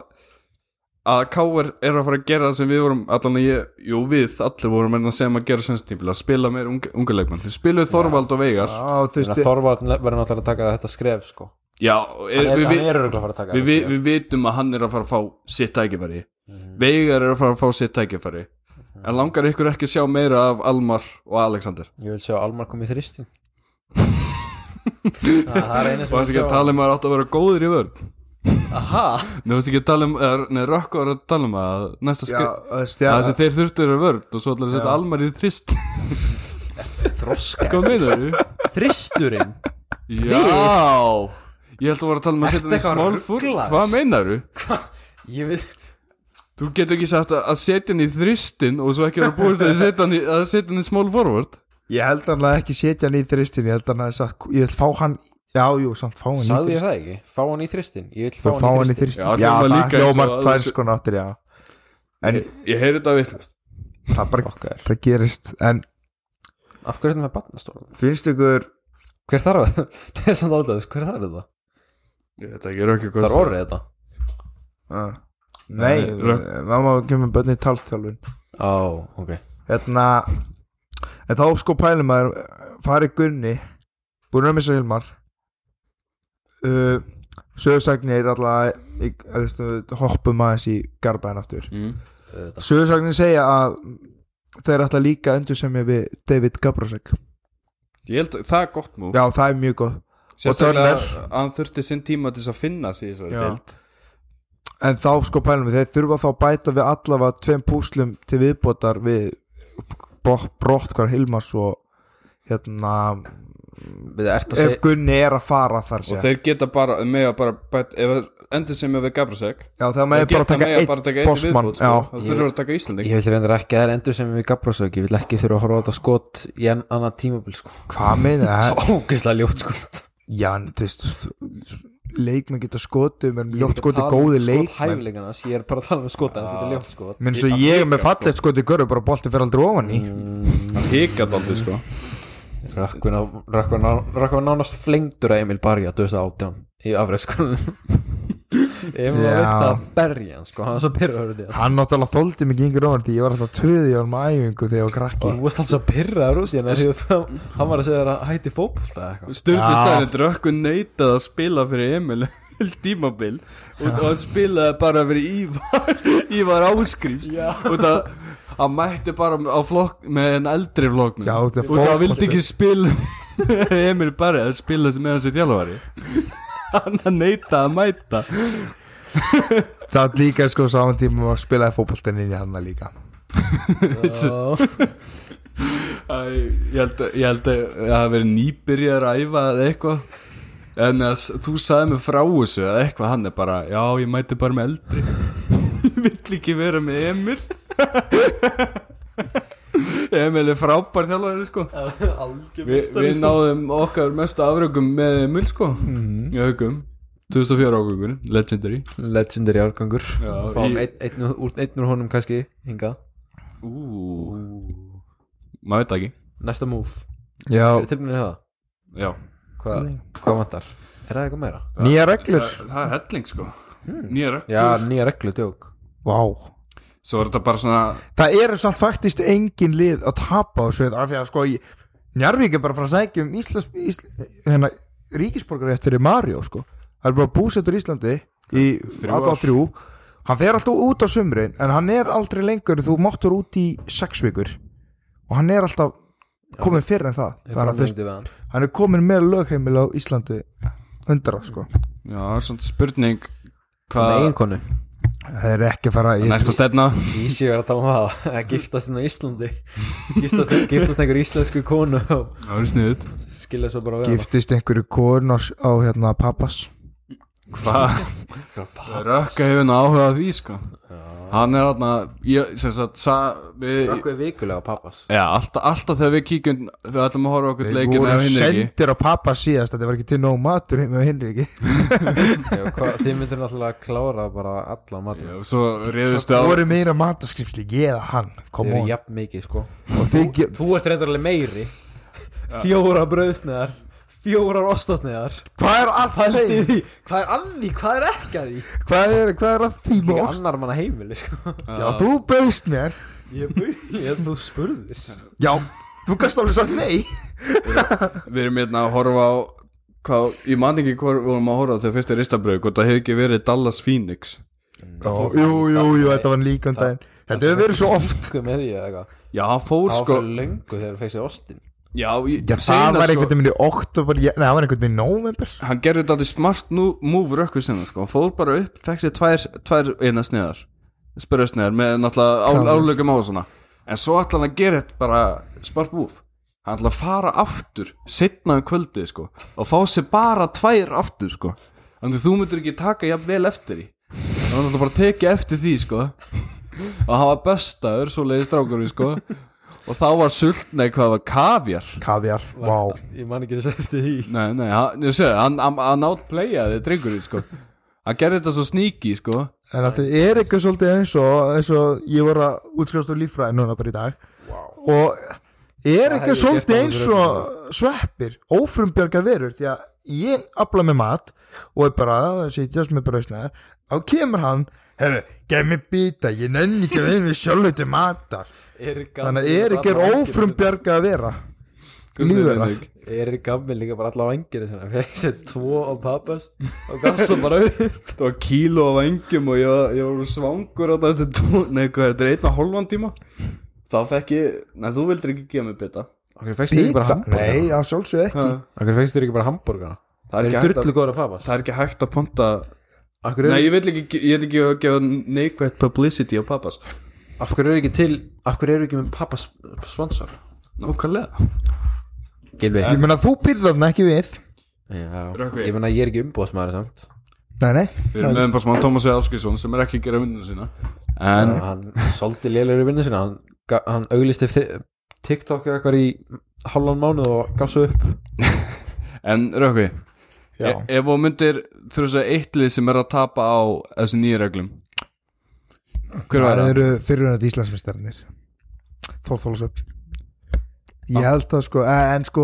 D: að K.R. er að fara að gera það sem við vorum allan að ég, jú við allir vorum enn að segja maður að gera senstímpil að spila meir unga, unga leikmann, þeir spiluðu Þorvald og Veigar
C: já, þú veist ég-
B: Þorvarn verður náttúrulega að taka þetta skref, sko
D: já, og er,
B: Hann er
D: við,
B: hann
D: við,
B: er sko. örugglega að fara að taka
D: við,
B: þetta
D: við,
B: skref
D: við vitum að hann er að fara að fá sitt tækifæri
B: Mhm.
D: Veigar er að fara að fá sitt tækifæri en langar ykkur ekki að sjá meira af Almar og Alexander
B: Ég vil sjá Almar komið þristin Það er einu
D: og þess
B: sem
D: ekki að tala um að það átt að vera góður í vörn
B: Aha
D: Nú veist ekki að tala um, er- nei Rökk var að tala um að næsta
C: Já,
D: skrið
C: þú veist,
D: Það sem
C: já
D: þeir þurftu eru vörn og svo ætlar að setja
C: Já.
D: Almar í þrist
B: Þroska
D: Hvað meinar þú?
B: Þristurinn
D: Já Ég held að voru að tala um
B: Ertu
D: að setja hann í
B: eitthvað
D: smálfúr
B: ruglaður?
D: Hvað meinar þú?
B: Ég vil
D: Þú getur ekki sagt að, að setja hann í þristin og svo ekki vera búist að setja hann í, að setja hann í small forward
C: Ég held hann að ekki setja hann í þristin Ég held hann að sagt, ég vil fá hann Já, jú, samt fá hann
B: Sagði
C: í
B: ég það ekki? Fá hann í þristin Ég vil
C: þristin Fá hann í
B: þristin
C: þristin
D: Já,
C: Já, það
D: hljómar líka eins og
C: hljómar
D: að-
C: tvær sko náttir, já En
D: Ég, ég heyri þetta vitlust
C: það bara,
B: Okkar
C: það gerist En
B: Af hverju er þetta með batnastóla?
C: finnst ykkur
B: Hver þarf það? *laughs* Nei, samt áldæðis, hver þarf þetta?
D: Ég veit ekki, Rökk
B: Það er orðið þetta
C: Ah. Nei,
D: Nei,
C: það má ekki með bönni talþjálfun
B: Á, ok
C: Hérna En þá sko pælum maður Fari Gunni Búin að missa Hilmar uh, Söðursagnir er alltaf Hoppum aðeins í garbaðin aftur
D: mm.
B: Þetta
C: Söðursagnir segja að Þeir ætla líka að endur semja við David Gabrosek
D: Ég held að það er gott múf
C: Já, það er mjög gott
D: Sérstaklega
C: Turner.
D: að hann þurfti sinn tíma til þess að finna sig í þessari
C: Já.
D: deild
C: En þá sko pælum við, þeir þurfa þá að bæta við allavega tveim púslum til viðbótar við brott, brott hvar Hilmars og hérna
B: Við ert að
C: ef
B: segja
C: Gunni er að fara þar
D: Og
C: sé
D: þeir geta bara, með að bara bæt, ef það endur sem ég við Gabrasek
C: Já þegar
D: Þeir
C: maður bara að
D: geta
C: taka
D: með að bara
C: einn
D: taka einn
C: bossmann
D: viðbót
C: Já,
D: sko. Það þurfur að taka Íslanding
B: Ég vil reyndir ekki að það er endur sem við gabrásög Ég vil ekki þurfa að horfa á þetta skot í enn annað tímabil sko
C: hvað meina það?
B: Svo *laughs* ógeðslega ljótt skot
C: Já, en þú veist leikmenn geta skotið, menn
B: um
C: ljótt skotið góði
D: um
C: leikmenn
B: Hæfilegan hans, ég er bara að tala um skot hans, þetta er ljótt skot
C: Minn svo ég er með
D: sko.
C: fallegt skotið görðu bara bolti fyrir aldrei ofan í
D: Mm. Hann hikað aldrei sko
B: Rökkva nánast flengdur að Emil Barja 2018 í afreðskonum *laughs* Emil var
C: Já.
B: veit það að berja hann sko, hann var svo pyrraður út í hann
C: Hann náttúrulega þóldi mig yngur ofan því ég var alltaf töði á hann með æfingu þegar ég var krakki
B: Þú varst alltaf að pyrraður út í hann þegar þú- hann var að segja þér að hætti fótbolta eða eitthvað
D: Sturlu
C: Já.
D: staðin Rökkun neitað að spila fyrir Emil til tímabil og og hann spilaði bara fyrir Ívar *laughs* Ívar Áskrims og það hann mætti bara á flokk með en eldri flokknum
C: Já,
D: og
C: þetta er
D: það
C: fótbolti.
D: vildi ekki spila með Emil bara að spila sem með hans í þjálfari hann að neita að mæta
C: Samt líka sko saman tíma og spilaði fótboltinn inn í hann líka
B: Já.
D: Æ, ég held að- ég held að það hafi verið nýbyrjar að æfa eða eitthvað en að s- þú sagði mig frá þessu eða eitthvað hann er bara, já ég mæti bara með eldri ég *laughs* vill ekki vera með Emil *laughs* Emil er frábær þjálfari sko Vi, við náðum okkar mestu afrökum með Emil sko í haugum 2004 ágöngur, legendary
B: Legendary árgangur
D: Já,
B: Fáum
D: í-
B: einn- einn úr- úr- einn úr honum kannski hingað
D: Ú. maður veit það ekki
B: Næsta move
C: Já,
B: Er tilbúinir það?
D: já,
B: Hvað hva vantar? Er það eitthvað meira?
C: nýja reglur
D: það, það er helling sko nýja rökk
B: Hmm. Já, nýja reglu djók
C: Vá
D: svo er þetta bara svona
C: Það eru samt faktist engin lið að tapa á sveit af því að sko ég, Njarvík er bara að fara að sækja um Íslands Ísl, hérna, ríkisborgarétt fyrir Mario sko Það er bara búsettur í Íslandi í
D: Þrjú
C: 83 Hann fer alltaf út á sumrin en hann er aldrei lengur þú máttur út í sex vikur og hann er alltaf komin fyrr en það
B: Ég
C: þannig að þú veist,
B: framlengdi við hann.
C: hann er komin með lögheimil á Íslandi undra sko
D: Já, það er svona spurning
B: Með
D: hvað
B: eiginkonu
C: það er ekki að fara í
D: næsta stefna
B: Ísi verið að tala um það að giftast inn á *laughs* Íslandi giftast, giftast einhver íslensku konu og
D: Það er sniðut
B: skilja svo bara við
C: giftist einhverju konu á, s- á hérna pappas
D: Hvað? Rökka hefur nú áhuga á því sko Hann er þarna Ég sem sagt sa, við,
B: Rökkveð vikulega á pappas
D: Já, alltaf, alltaf þegar við kíkjum Við ætlum að horfa okkur
C: Við
D: leikir
C: vorum
D: með Hinriki
C: sendir á pappa síðast þetta var ekki til nóg matur heim með Hinriki
B: Já, hva, Þið myndir náttúrulega klára bara alla matur
D: Svo reyðustu á
C: það voru meira mataskrimsli ég eða hann kom
B: Þið eru
C: on
B: jafn mikið sko
C: og þið ge-
B: Þú ert reyndarlega *laughs* meiri Fjóra brauðsneðar Fjórar ostasneðar
C: hvað er að það
B: Pældi því Hvað er að því, hvað er ekki að því
C: hvað er, hvað er að því
B: Ekki
C: mós
B: annar manna heimili *laughs* sko
C: já þú bauðst mér
B: Ég, ég, þú spurðir
C: já þú gast alveg sagt nei
D: Við erum hérna að horfa á Hvað, ég man ekki hvað við vorum að horfa á þegar fyrst er ristabröð Hvort það hefði ekki verið Dallas Phoenix
C: jú jú jú þetta var líka um daginn þetta hefur verið svo oft
B: Hvað með því eða eitthvað
D: Já, hann fór
B: Það var
D: sko
B: fyrir löngu þegar þú fegsið ostin
D: Já, ég, sko-
C: já það sko.
D: seinna,
C: var einhvern veginn í oktober ég- nei það var einhvern veginn í november
D: hann gerði þetta aldrei smart nú, move rökku sinna sko, hann fór bara upp fekk sér tvær, tvær eina sniðar spyrja sniðar með náttúrulega á- álögum á og svona, en svo ætla hann að gera þetta bara smart move hann ætla að fara aftur, setna um kvöldi sko, og fá sér bara tvær aftur sko, þannig að þú myndir ekki taka jafn vel eftir því þannig að hann ætla bara að teki eftir því sko og hann var bestaður, svo leiði strákur sko, og þá var sult nei, hvað var kafjar
C: kaviar vá
B: Ég man ekki þess eftir því
D: Nei, nei, hann, ég sé, hann, hann, hann outplayaði drengurinn, sko Hann gerði þetta svo sníki, sko
C: En að þetta er eitthvað svolítið eins og, eins og ég voru að útskrifast úr líffræði núna bara í dag wow. og er
B: hefði ég
C: eitthvað
B: gert
C: svolítið
B: alveg
C: eins
B: fyrir
C: og sveppir, ófrumbjörga verur því að ég afla með mat og er bara að sitjast með brausnaðar þá kemur hann, herru, gef mér býta ég nenni ekki að við við sjálfleiti matar þannig að er ekki ófrumbjörga að vera lífverða
B: Eri gammil líka bara alla á enginu sinna Fekk sér tvo á pappas
C: *laughs*
B: Og gaf svo bara upp
D: Það var kíló af engjum og ég, ég var svangur á þetta tó- Nei, hvað er þetta, er einn og hálfan tíma? Þá fekk ég, nei, þú vildir ekki gefa mig bita
B: Akkur fegst þér ekki bara
C: býta,
B: hambúrgana
C: nei, að sjálfsög ekki
B: Akkur fegst þér ekki bara hambúrgana
D: Það er
B: Það
D: ekki
B: er
D: hægt að-
B: drullu góður að pappas
D: Það er ekki hægt að ponta
B: Akkur
D: Nei,
B: er,
D: ég vil ekki, ég vil ekki gefa neikvægt publicity á pappas
B: af hverju er ekki til Akkur eru ekki með pappas sponsor
D: Nákvæmlega
B: Gilvi
C: ég meina þú býrð þarna ekki við
D: Rökkvi.
B: Ég menna ég er ekki umbóðsmaður samt
C: nei, nei,
D: Við erum meðan bara smá Tómas V. Áskilsson sem er ekki að gera vinnuna sína En,
B: Hann soldi lélegur í vinnu sinna Hann, ga- hann auglisti TikTok eða eitthvað í halvan mánuð og gaf svo upp
D: en Rökkvi
C: já
D: E- Ef þú myndir þú veist að eitt lið sem er að tapa á þessu nýju reglum Hver
C: það
D: var það?
C: eru fyrirvunandi Íslandsmeistarnir Þór Þólasöp
D: Ah.
C: ég held að sko en en sko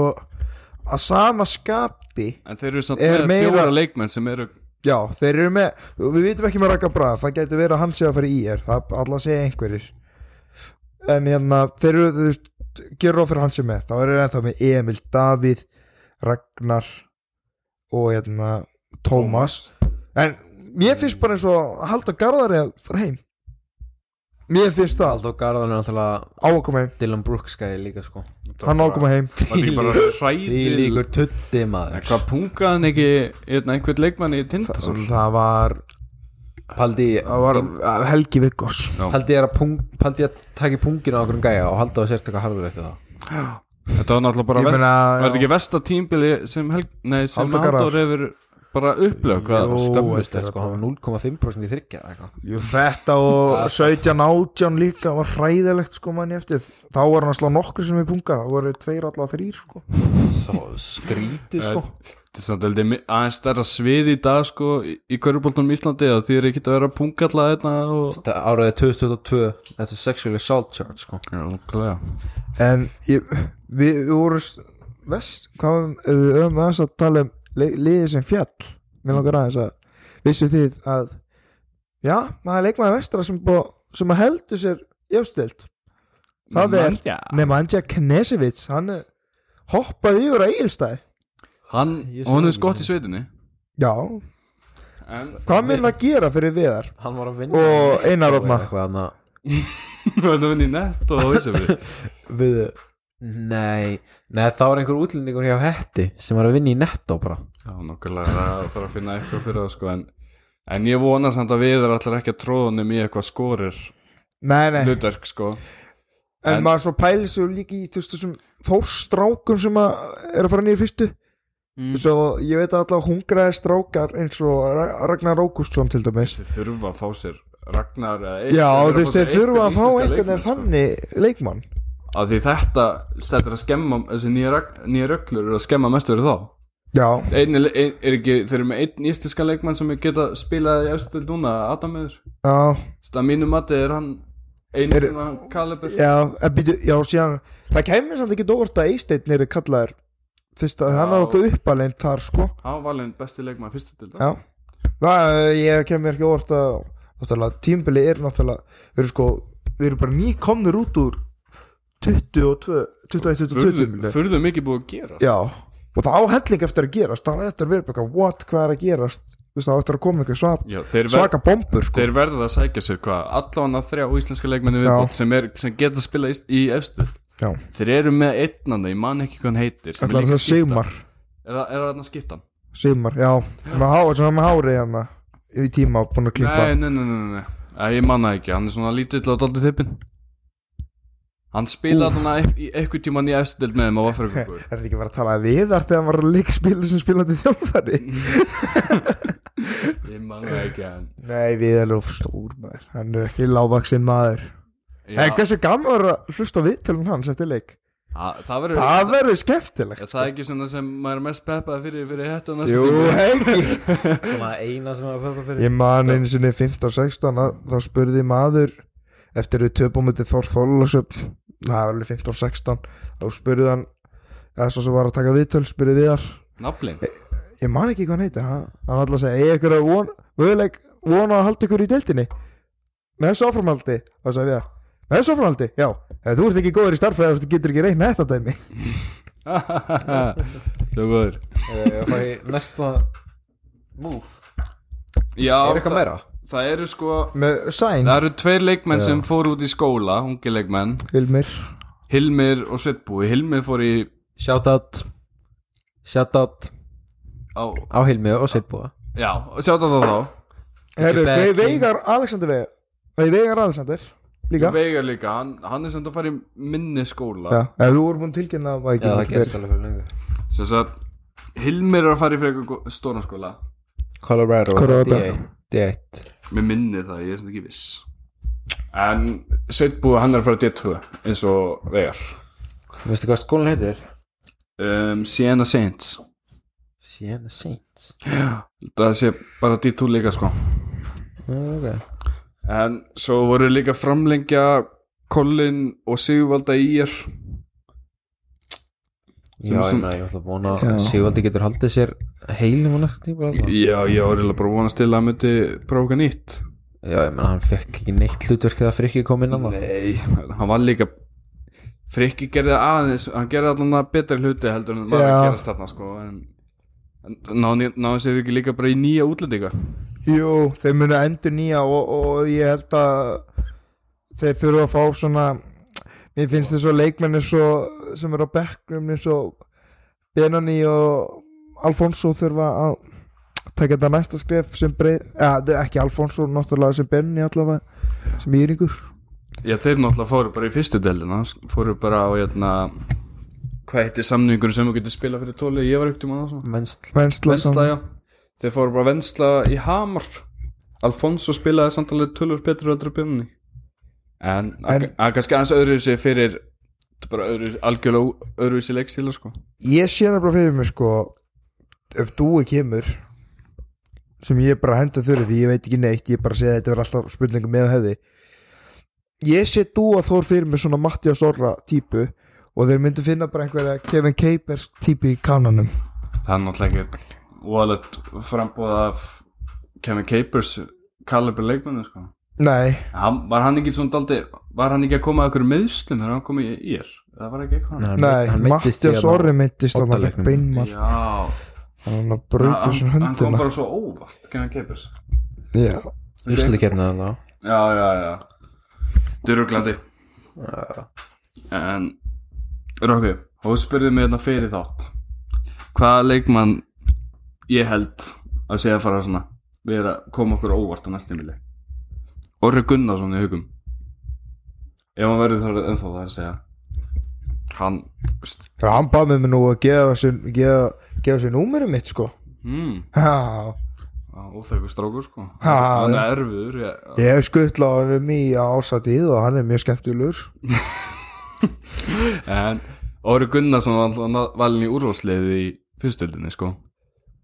C: að sama skapi
D: En þeir eru samt
C: Er
D: með
C: meira-
D: fjóra leikmenn sem eru
C: já þeir eru með við vitum ekki með Raka Braða það getur verið að hann sé að fara í er það alla segja einhverjir en hérna þeir eru þú veist gerur ofur hann sé með þá eru ennþá með Emil Davíð Ragnar og hérna Tómas en mér finnst bara eins og að halda garðari að fara heim mér finnst það
B: Aldo Garðan er náttúrulega
C: á að koma heim
B: Dylan Brooks gæði líka sko
C: hann á að koma heim
D: Það er ekki bara
B: Því
D: hræðil
B: líkur tutti maður
D: En Hvað pungaðan ekki hérna, einhvern leikmann í Tindasól?
C: það var,
B: Paldi
C: það var Helgi Viggos
B: Paldi er að pung, Paldi að taki pungin á okkur um gæja og halda á sérst eitthvað harður eftir það
D: Þetta var náttúrulega bara
C: Ég
D: verð,
C: meina,
D: var þetta
C: já.
D: ekki versta tímbili sem, Helg, nei, sem
C: Halldór Garðars.
D: Halldór hefur bara upplög
B: Það var
C: Jú,
B: skömmust
C: þetta
B: er
C: er
B: sko, hann var 0,5% í þryggja eða eitthvað.
C: Jú, þetta og 17 átján líka var hræðilegt sko manni eftir þá var hann að slá nokkur sem við punga þá voru tveir allavega þrýr sko
B: Það var skrítið sko
D: Þetta er samt heldur mi- aðeins stærra svið í dag sko í, í Köruboltunum Íslandi að því er ekki að vera pungalla þetta og
B: Þetta áraðið 2022 Þetta er sexual assault charge sko
D: Já, nákvæmlega.
C: en ég, við, við vorum vest, hvað var- ef við höfum aðeins að tala um le- liðið sem fjall mér langar aðeins að vissu þið að já, maður er leikmaður vestra sem, bó, sem að heldur sér jöfstilt það er
D: Nemanja.
C: nema Andja Knesevits hann er- hoppaði yfir að eigilstæði
D: Hann,
B: Ég sé
D: og hann
B: það
D: er skott í sveitinni
C: já,
D: en,
C: hvað mun að gera fyrir viðar
B: Hann var að vinna
C: og Einar Rótma
B: Eitthvað hann að
D: Þú erum inn í nett og Ísafri
B: Við Nei Nei það var einhver útlendingur hjá Hetti Sem var að vinna í netto bara
D: Já, nokkulega, það þarf að finna eitthvað fyrir það sko en, en ég vona samt að við erum allir ekki að tróða honum í eitthvað skorir
C: nei, nei,
D: hlutverk sko
C: en,
D: en-
C: maður svo pælir svo líka í þú veist þessum þórstrákum sem að er að fara niður í fyrstu
D: Mm.
C: svo ég veit að alltaf hungraði strákar eins og Ra- Ragnar Rókustsson til dæmis
D: Þeir þurfa að fá sér Ragnar eða
C: já, þú
D: þeir verða
C: veist þeir þurfa að fá
D: íslenska
C: einhvern
D: leikmenn,
C: veginn þannig leikmann
D: sko. Af því þetta, þetta er að skemma þessi nýja, rag- nýja röglur eru að skemma mest fyrir þá
C: já,
D: Ein, er, er ekki, þeir eru með einn íslenska leikmann sem geta spilað í eftir núna, Adam er
C: já,
D: Það mínum að er hann einu
C: Er-
D: svona kalibur
C: já, en býtu, já, síðan það kemur samt ekki dórt að Eisteinn eru kallaður fyrst að hann
D: Já.
C: er okkur uppalinn þar sko
D: Hann var valinn besti leikmann fyrstu til
C: já, það, ég kemur ekki óvart að náttúrulega tímbili er náttúrulega við erum sko, við erum bara nýkomnir út úr 22 21, 22 tímbili
D: Furðu mikið búið að gera
C: Já, og það á helling eftir að gerast það á eftir að vera bara eitthvað, what, hvað er að gerast Þú veist, það á eftir að koma eitthvað svak,
D: Já, þeir, ver,
C: svaka bombur sko.
D: þeir verða að sækja sér hvað allan að þrjá íslenska leikmenni viðbótt sem, er- sem geta spila í, í efstu
C: Já,
D: Þeir eru með einn annað, ég man ekki hvað hann heitir sem er
C: ætlar
D: líka
C: það að
D: skipta.
C: Sigmar
D: Er það er það hann að skipta hann?
C: Sigmar, já, með há, sem er með hárið hann í tíma búin að klippa
D: Nei, nei, nei, nei, nei, nei. Æ, Ég manna ekki, hann er svona lítill og daldið þippin Hann spilaði hann að eitthvað tíman í efstu dild með þeim á
C: *laughs*
D: Vaffarökungur
C: Er þetta ekki bara að tala við þar þegar hann var líkspil sem spilandi þjálfari?
D: Ég manna ekki hann
C: Nei, við erum of stór maður Hann er ekki lágvaksinn maður
D: Já,
C: En hversu gaman var að hlusta á viðtölun hans eftir leik?
D: það- Það verður
C: Það
D: það,
C: verður skemmtilegt
D: það er ekki svona sem maður er mest peppaði fyrir fyrir hættu næstu
C: Jú,
D: tímabil.
C: ekki
B: Svona eina sem var að pöpa fyrir
C: Ég man einu sinni 15-16 að- þá spurði maður eftir við töpumöndi Þór Þorlasöp það var alveg 15-16 þá spurði hann eða svo sem var að taka viðtöl spurði viðar
D: Naflinn
C: ég man ekki hvað hann heitir hann hann alltaf segi eigi ykkur að von vöðuleik vona að halda ykkur í deildinni með þessu áframhaldi þá sagði viðar með þessu áframhaldi já ef þú ert ekki góður í starffræði þú getur ekki reyna þetta dæmi
D: *laughs* Svo góður
B: Ég fæ í næsta Move
D: Já,
B: Er eitthvað
D: það,
B: meira?
D: það eru sko
C: með sæn
D: Það eru tveir leikmenn sem fóru út í skóla Ungi leikmenn,
C: Vilmir
D: Hilmir og Sveitbúi Hilmir fór í
B: Shoutout Shoutout
D: á,
B: á Hilmið og Sveitbúa
D: Já, sjátt á það þá
C: Herru,
B: back
C: Ve-
B: in.
C: Veigar Alexander Veigar Nei, Veigar Alexander líka
D: Veigar líka, hann, hann er sem þetta að fara í minni skóla
C: Já, ef þú voru búin að tilkynna að
B: Já það
C: Vikings
B: gerist alveg fyrir lengur
D: sem sagt, Hilmir er að fara í frekar gó- stóran skóla
B: Colorado
C: Colorado.
B: D1 D1
D: Mér minni það, ég er sem ekki viss En Sveitbúi, hann er að fara í D2 eins og Veigar
B: Veistu hvað skólinn heitir?
D: um, Siena Saints
B: Siena Saints
D: Það sé bara D2 líka sko
B: Ok
D: En svo voru líka framlengja Collin og Sigvalda í er
B: Já, ég
D: sem-
B: meina, ég ætla að vona
C: Já.
B: að Sigvaldi getur haldið sér heilum og næsta tíma bara allavega.
D: Já, ég var eiginlega bara að vonast til að hann myndi prófa eitthvað nýtt
B: Já, ég meina, hann fekk ekki neitt hlutverk þegar Frikki kom inn annað
D: Nei, hann var líka Frikki gerði aðeins hann gerði allan betri hluti heldur en maður að
C: Já.
D: gerast þarna sko en, en náði ná sér ekki líka bara í nýja útlendinga
C: Jú, þeir munu endur nýja og, og ég held að þeir þurfa að fá svona mér finnst þess að leikmenni svo, sem eru á bekknum eins og Benani og Alfonso þurfa að taka þetta næsta skref sem breið, eða, ekki Alfonso náttúrulega sem Benani allavega sem íringur
D: Já, þeir náttúrulega fóru bara í fyrstu deildina fóru bara á hérna hvað heitir samningur sem þú getur spilað fyrir tóli ég var auktum á það
B: Vensl
C: Vensla,
D: Vensla, já þeir fóru bara Vensla í Hamar Alfonso spilaði samtalið tölur betur aldrei björnni en að
C: En-
D: að kannski aðeins öðru sér fyrir þetta er bara öðru, algjörlega öðru sér leikstíla sko
C: Ég sé það bara fyrir mig sko ef dúi kemur sem ég bara henda þurri því ég veit ekki neitt ég bara sé að þetta verður alltaf spurningum með hefði ég sé dúa þór fyrir mig svona Mattias Orra típu og þeir myndu finna bara einhverja Kevin Capers típu í kananum
D: það er náttúrulega ekki voðalegt frambóð af Kevin Capers kaliber leikmennu sko
C: Nei,
D: hann, var hann ekki svona daldi var hann ekki að koma að okkur meðslum þegar hann kom í ír það var ekki eitthvað
B: meiddist
C: nei,
B: í
C: Mattias
B: hérna-
C: Orri myndist þannig að hann
B: oddaleiknum.
C: fekk beinmar
D: já
C: hann að brauta
D: hann,
C: þessum
D: hann kom
C: höndina
D: bara svo óvart Kevin Capers
C: Já,
B: Úrslitakeppni þarna.
D: já, já, já Duruglandi En Rokki, þú spurði mig hérna fyrir þátt Hvaða leikmann ég held að segja að fara svona við erum að koma okkur á óvart á næstum vilja Orri Gunnarsson í hugum Ef hann verður þá ennþá það er að segja Hann
C: Já, hann bað með mig um nú að gefa sér gefa, gefa sér númerum mitt sko
D: hmm,
C: Já,
D: Óþekku strákur sko
C: Ha,
D: Hann er erfiður ég,
C: ég hef skuttla á hann í ásatið og hann er mjög skemmtilegur
D: En Óri Gunnarsson var alltaf valin í úrvalsliði í fyrstöldinni sko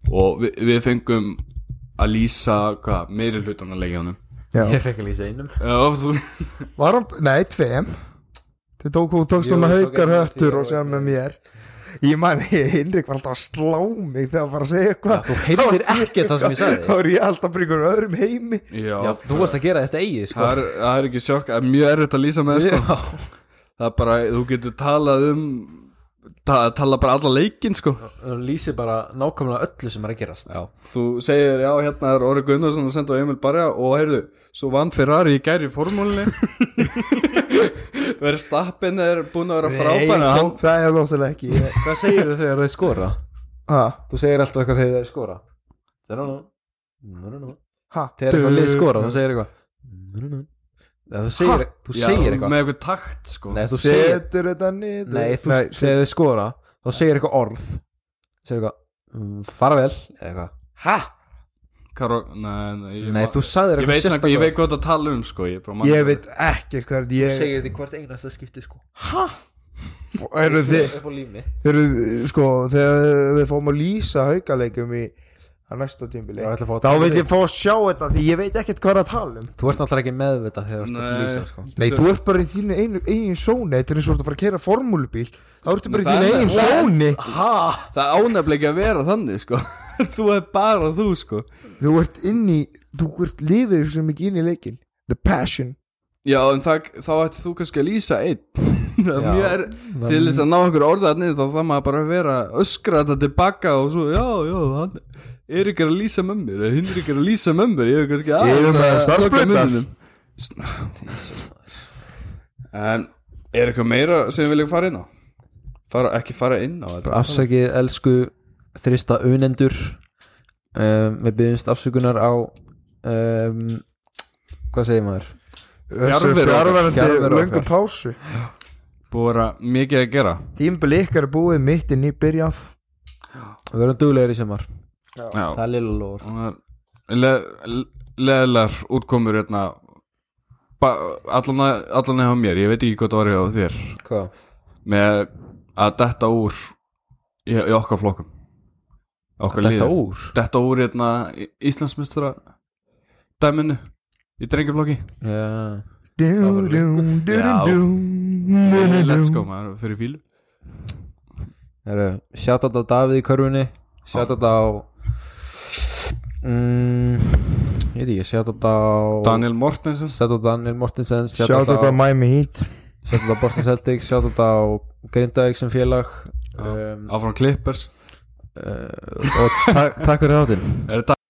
D: og við, við fengum að lýsa hvað, meiri hlutan að leikja honum
C: Já.
B: Ég fekk að lýsa einum
D: Já, þú,
C: Var hann, nei, tveim Þið tók hún tókst hún
B: Jú,
C: að
B: ég tók
C: haukar
B: einn
C: höttur
B: og
C: og
B: tíu
C: sem
B: og
C: með mér Ég man, *laughs* Hinrik var alltaf að slá mig þegar hann var að segja eitthvað
B: Þú heyrðir ekkert það sem ég
C: *laughs* Þá
B: sagði
C: er ég alltaf bara í einhverjum öðrum heimi
D: já,
B: Já, þú varst að gera þetta eigið sko
D: það, er, það er ekki sjokk það er mjög erfitt að lýsa með sko.
B: Já. *laughs*
D: það er bara, þú getur talað um ta, tala bara alla leikinn sko
B: Hún lýsir bara nákvæmlega öllu sem er að gerast Já,
D: þú segir, já, hérna er Óri Gunnarsson að senda á Emil Barja og heyrðu, svo vann Ferrari í gæri í
B: *laughs*
D: formúlinni verður stappin er búin að vera frábæna
C: hann... það er lóttilega ekki ég...
B: Hvað segirðu þegar þeir skora?
C: Ha,
B: Þú segir alltaf eitthvað þegar þeir skora Þeir eru nú
C: ha,
B: Þegar eitthvað lið skora, þú segir eitthvað Nú-nú-nú. Nei, Þú segir, þú
D: Já,
B: segir eitthvað
D: með eitthvað takt sko
B: Nei, þú segir
C: Setur þetta niður
B: Nei, þú, þegar þið skora þá segir eitthvað orð segir eitthvað, um, farvel eða eitthvað, hæ?
D: Karo, nei, nei, ég,
B: Nei,
D: ma-
B: þú sagðir
D: ég
B: eitthvað
D: veit,
B: sérstaklega
D: ekki, ég veit hvað það tala um sko, ég, bara man-
C: Ég veit ekki hvað ég
B: segir því hvert einasta skipti sko
C: Eru þið
B: upp á líf mitt
C: eru, sko, þegar við fáum að lýsa haukaleikum í að næsta
B: Já,
C: tímbili
B: ég ætla að fá að
C: þá
B: tala
C: vil
B: um
C: ég fá að sjá þetta því ég veit ekkert hvað er að tala um
B: Þú ert náttúrulega ekki meðvitað þegar þú ert að
D: Nei.
B: lýsa sko
C: Nei, þú ert bara í þínu einu, einu sóni Þetta er eins og þú ert að fara að keira formúlubíl Þá ertu bara í
D: það
C: þínu
D: er
C: einu sóni
B: Hæ?
D: Það ánefnilega ekki að vera þannig sko *laughs* Þú er bara þú sko
C: Þú ert inn í, þú ert lifið svo mikið inn í leikin The passion
D: Já, en það, þá ætti þú kannski að lýsa einn *laughs* Það er
B: Já.
D: mjög er Til þess að ná einhver orðaðni þá það maður bara að vera að öskra þetta tilbaka og svo, já, já, hann er ekki að lýsa með mér, hinn er ekki að lýsa með mér ég er kannski
C: Ég er
D: aðeins
C: með starfsbrautar.
D: loka munninum. En er eitthvað meira sem við viljum fara inn á? Fara, ekki fara inn á þetta
B: Afsakið elsku þrista unendur um, Við byggjumst afsökunar á um, Hvað segir maður?
C: Þessu
D: Fjarveru okkar.
C: Fjarverandi
B: Fjarveru
C: löngu
B: okkar.
C: pásu
D: Búið að vera mikið að gera
C: Tímbili ykkar er búið mitt inn í byrjað
B: Við verðum duglegir í sumar
D: Já,
B: Það er lilla lóður
D: og það er leðilegar útkomur hérna ba- allan að- allan eða mér, ég veit ekki hvað það var hjá þér
B: Hvað?
D: með að detta úr í, í okkar flokkum okkar
B: Þetta
D: liði.
B: úr?
D: detta úr hérna Íslandsmyndstara dæminu í drengjaflokki
B: Já var
D: Já. let's
C: Let's
D: go maður fyrir fílu
B: Sjátt á Davíð í körfunni Sjátt á mm, Ég veit ekki, sjátt á
D: Daniel Mortensen
B: Sjátt á Daniel Mortensen
C: Sjátt þetta Miami Heat
B: Sjátt á Boston Celtics Sjátt á Grindavík sem félag
D: Já.
B: um,
D: áfram Clippers
B: uh, Og ta- *laughs* takk fyrir þáttinn
D: er þetta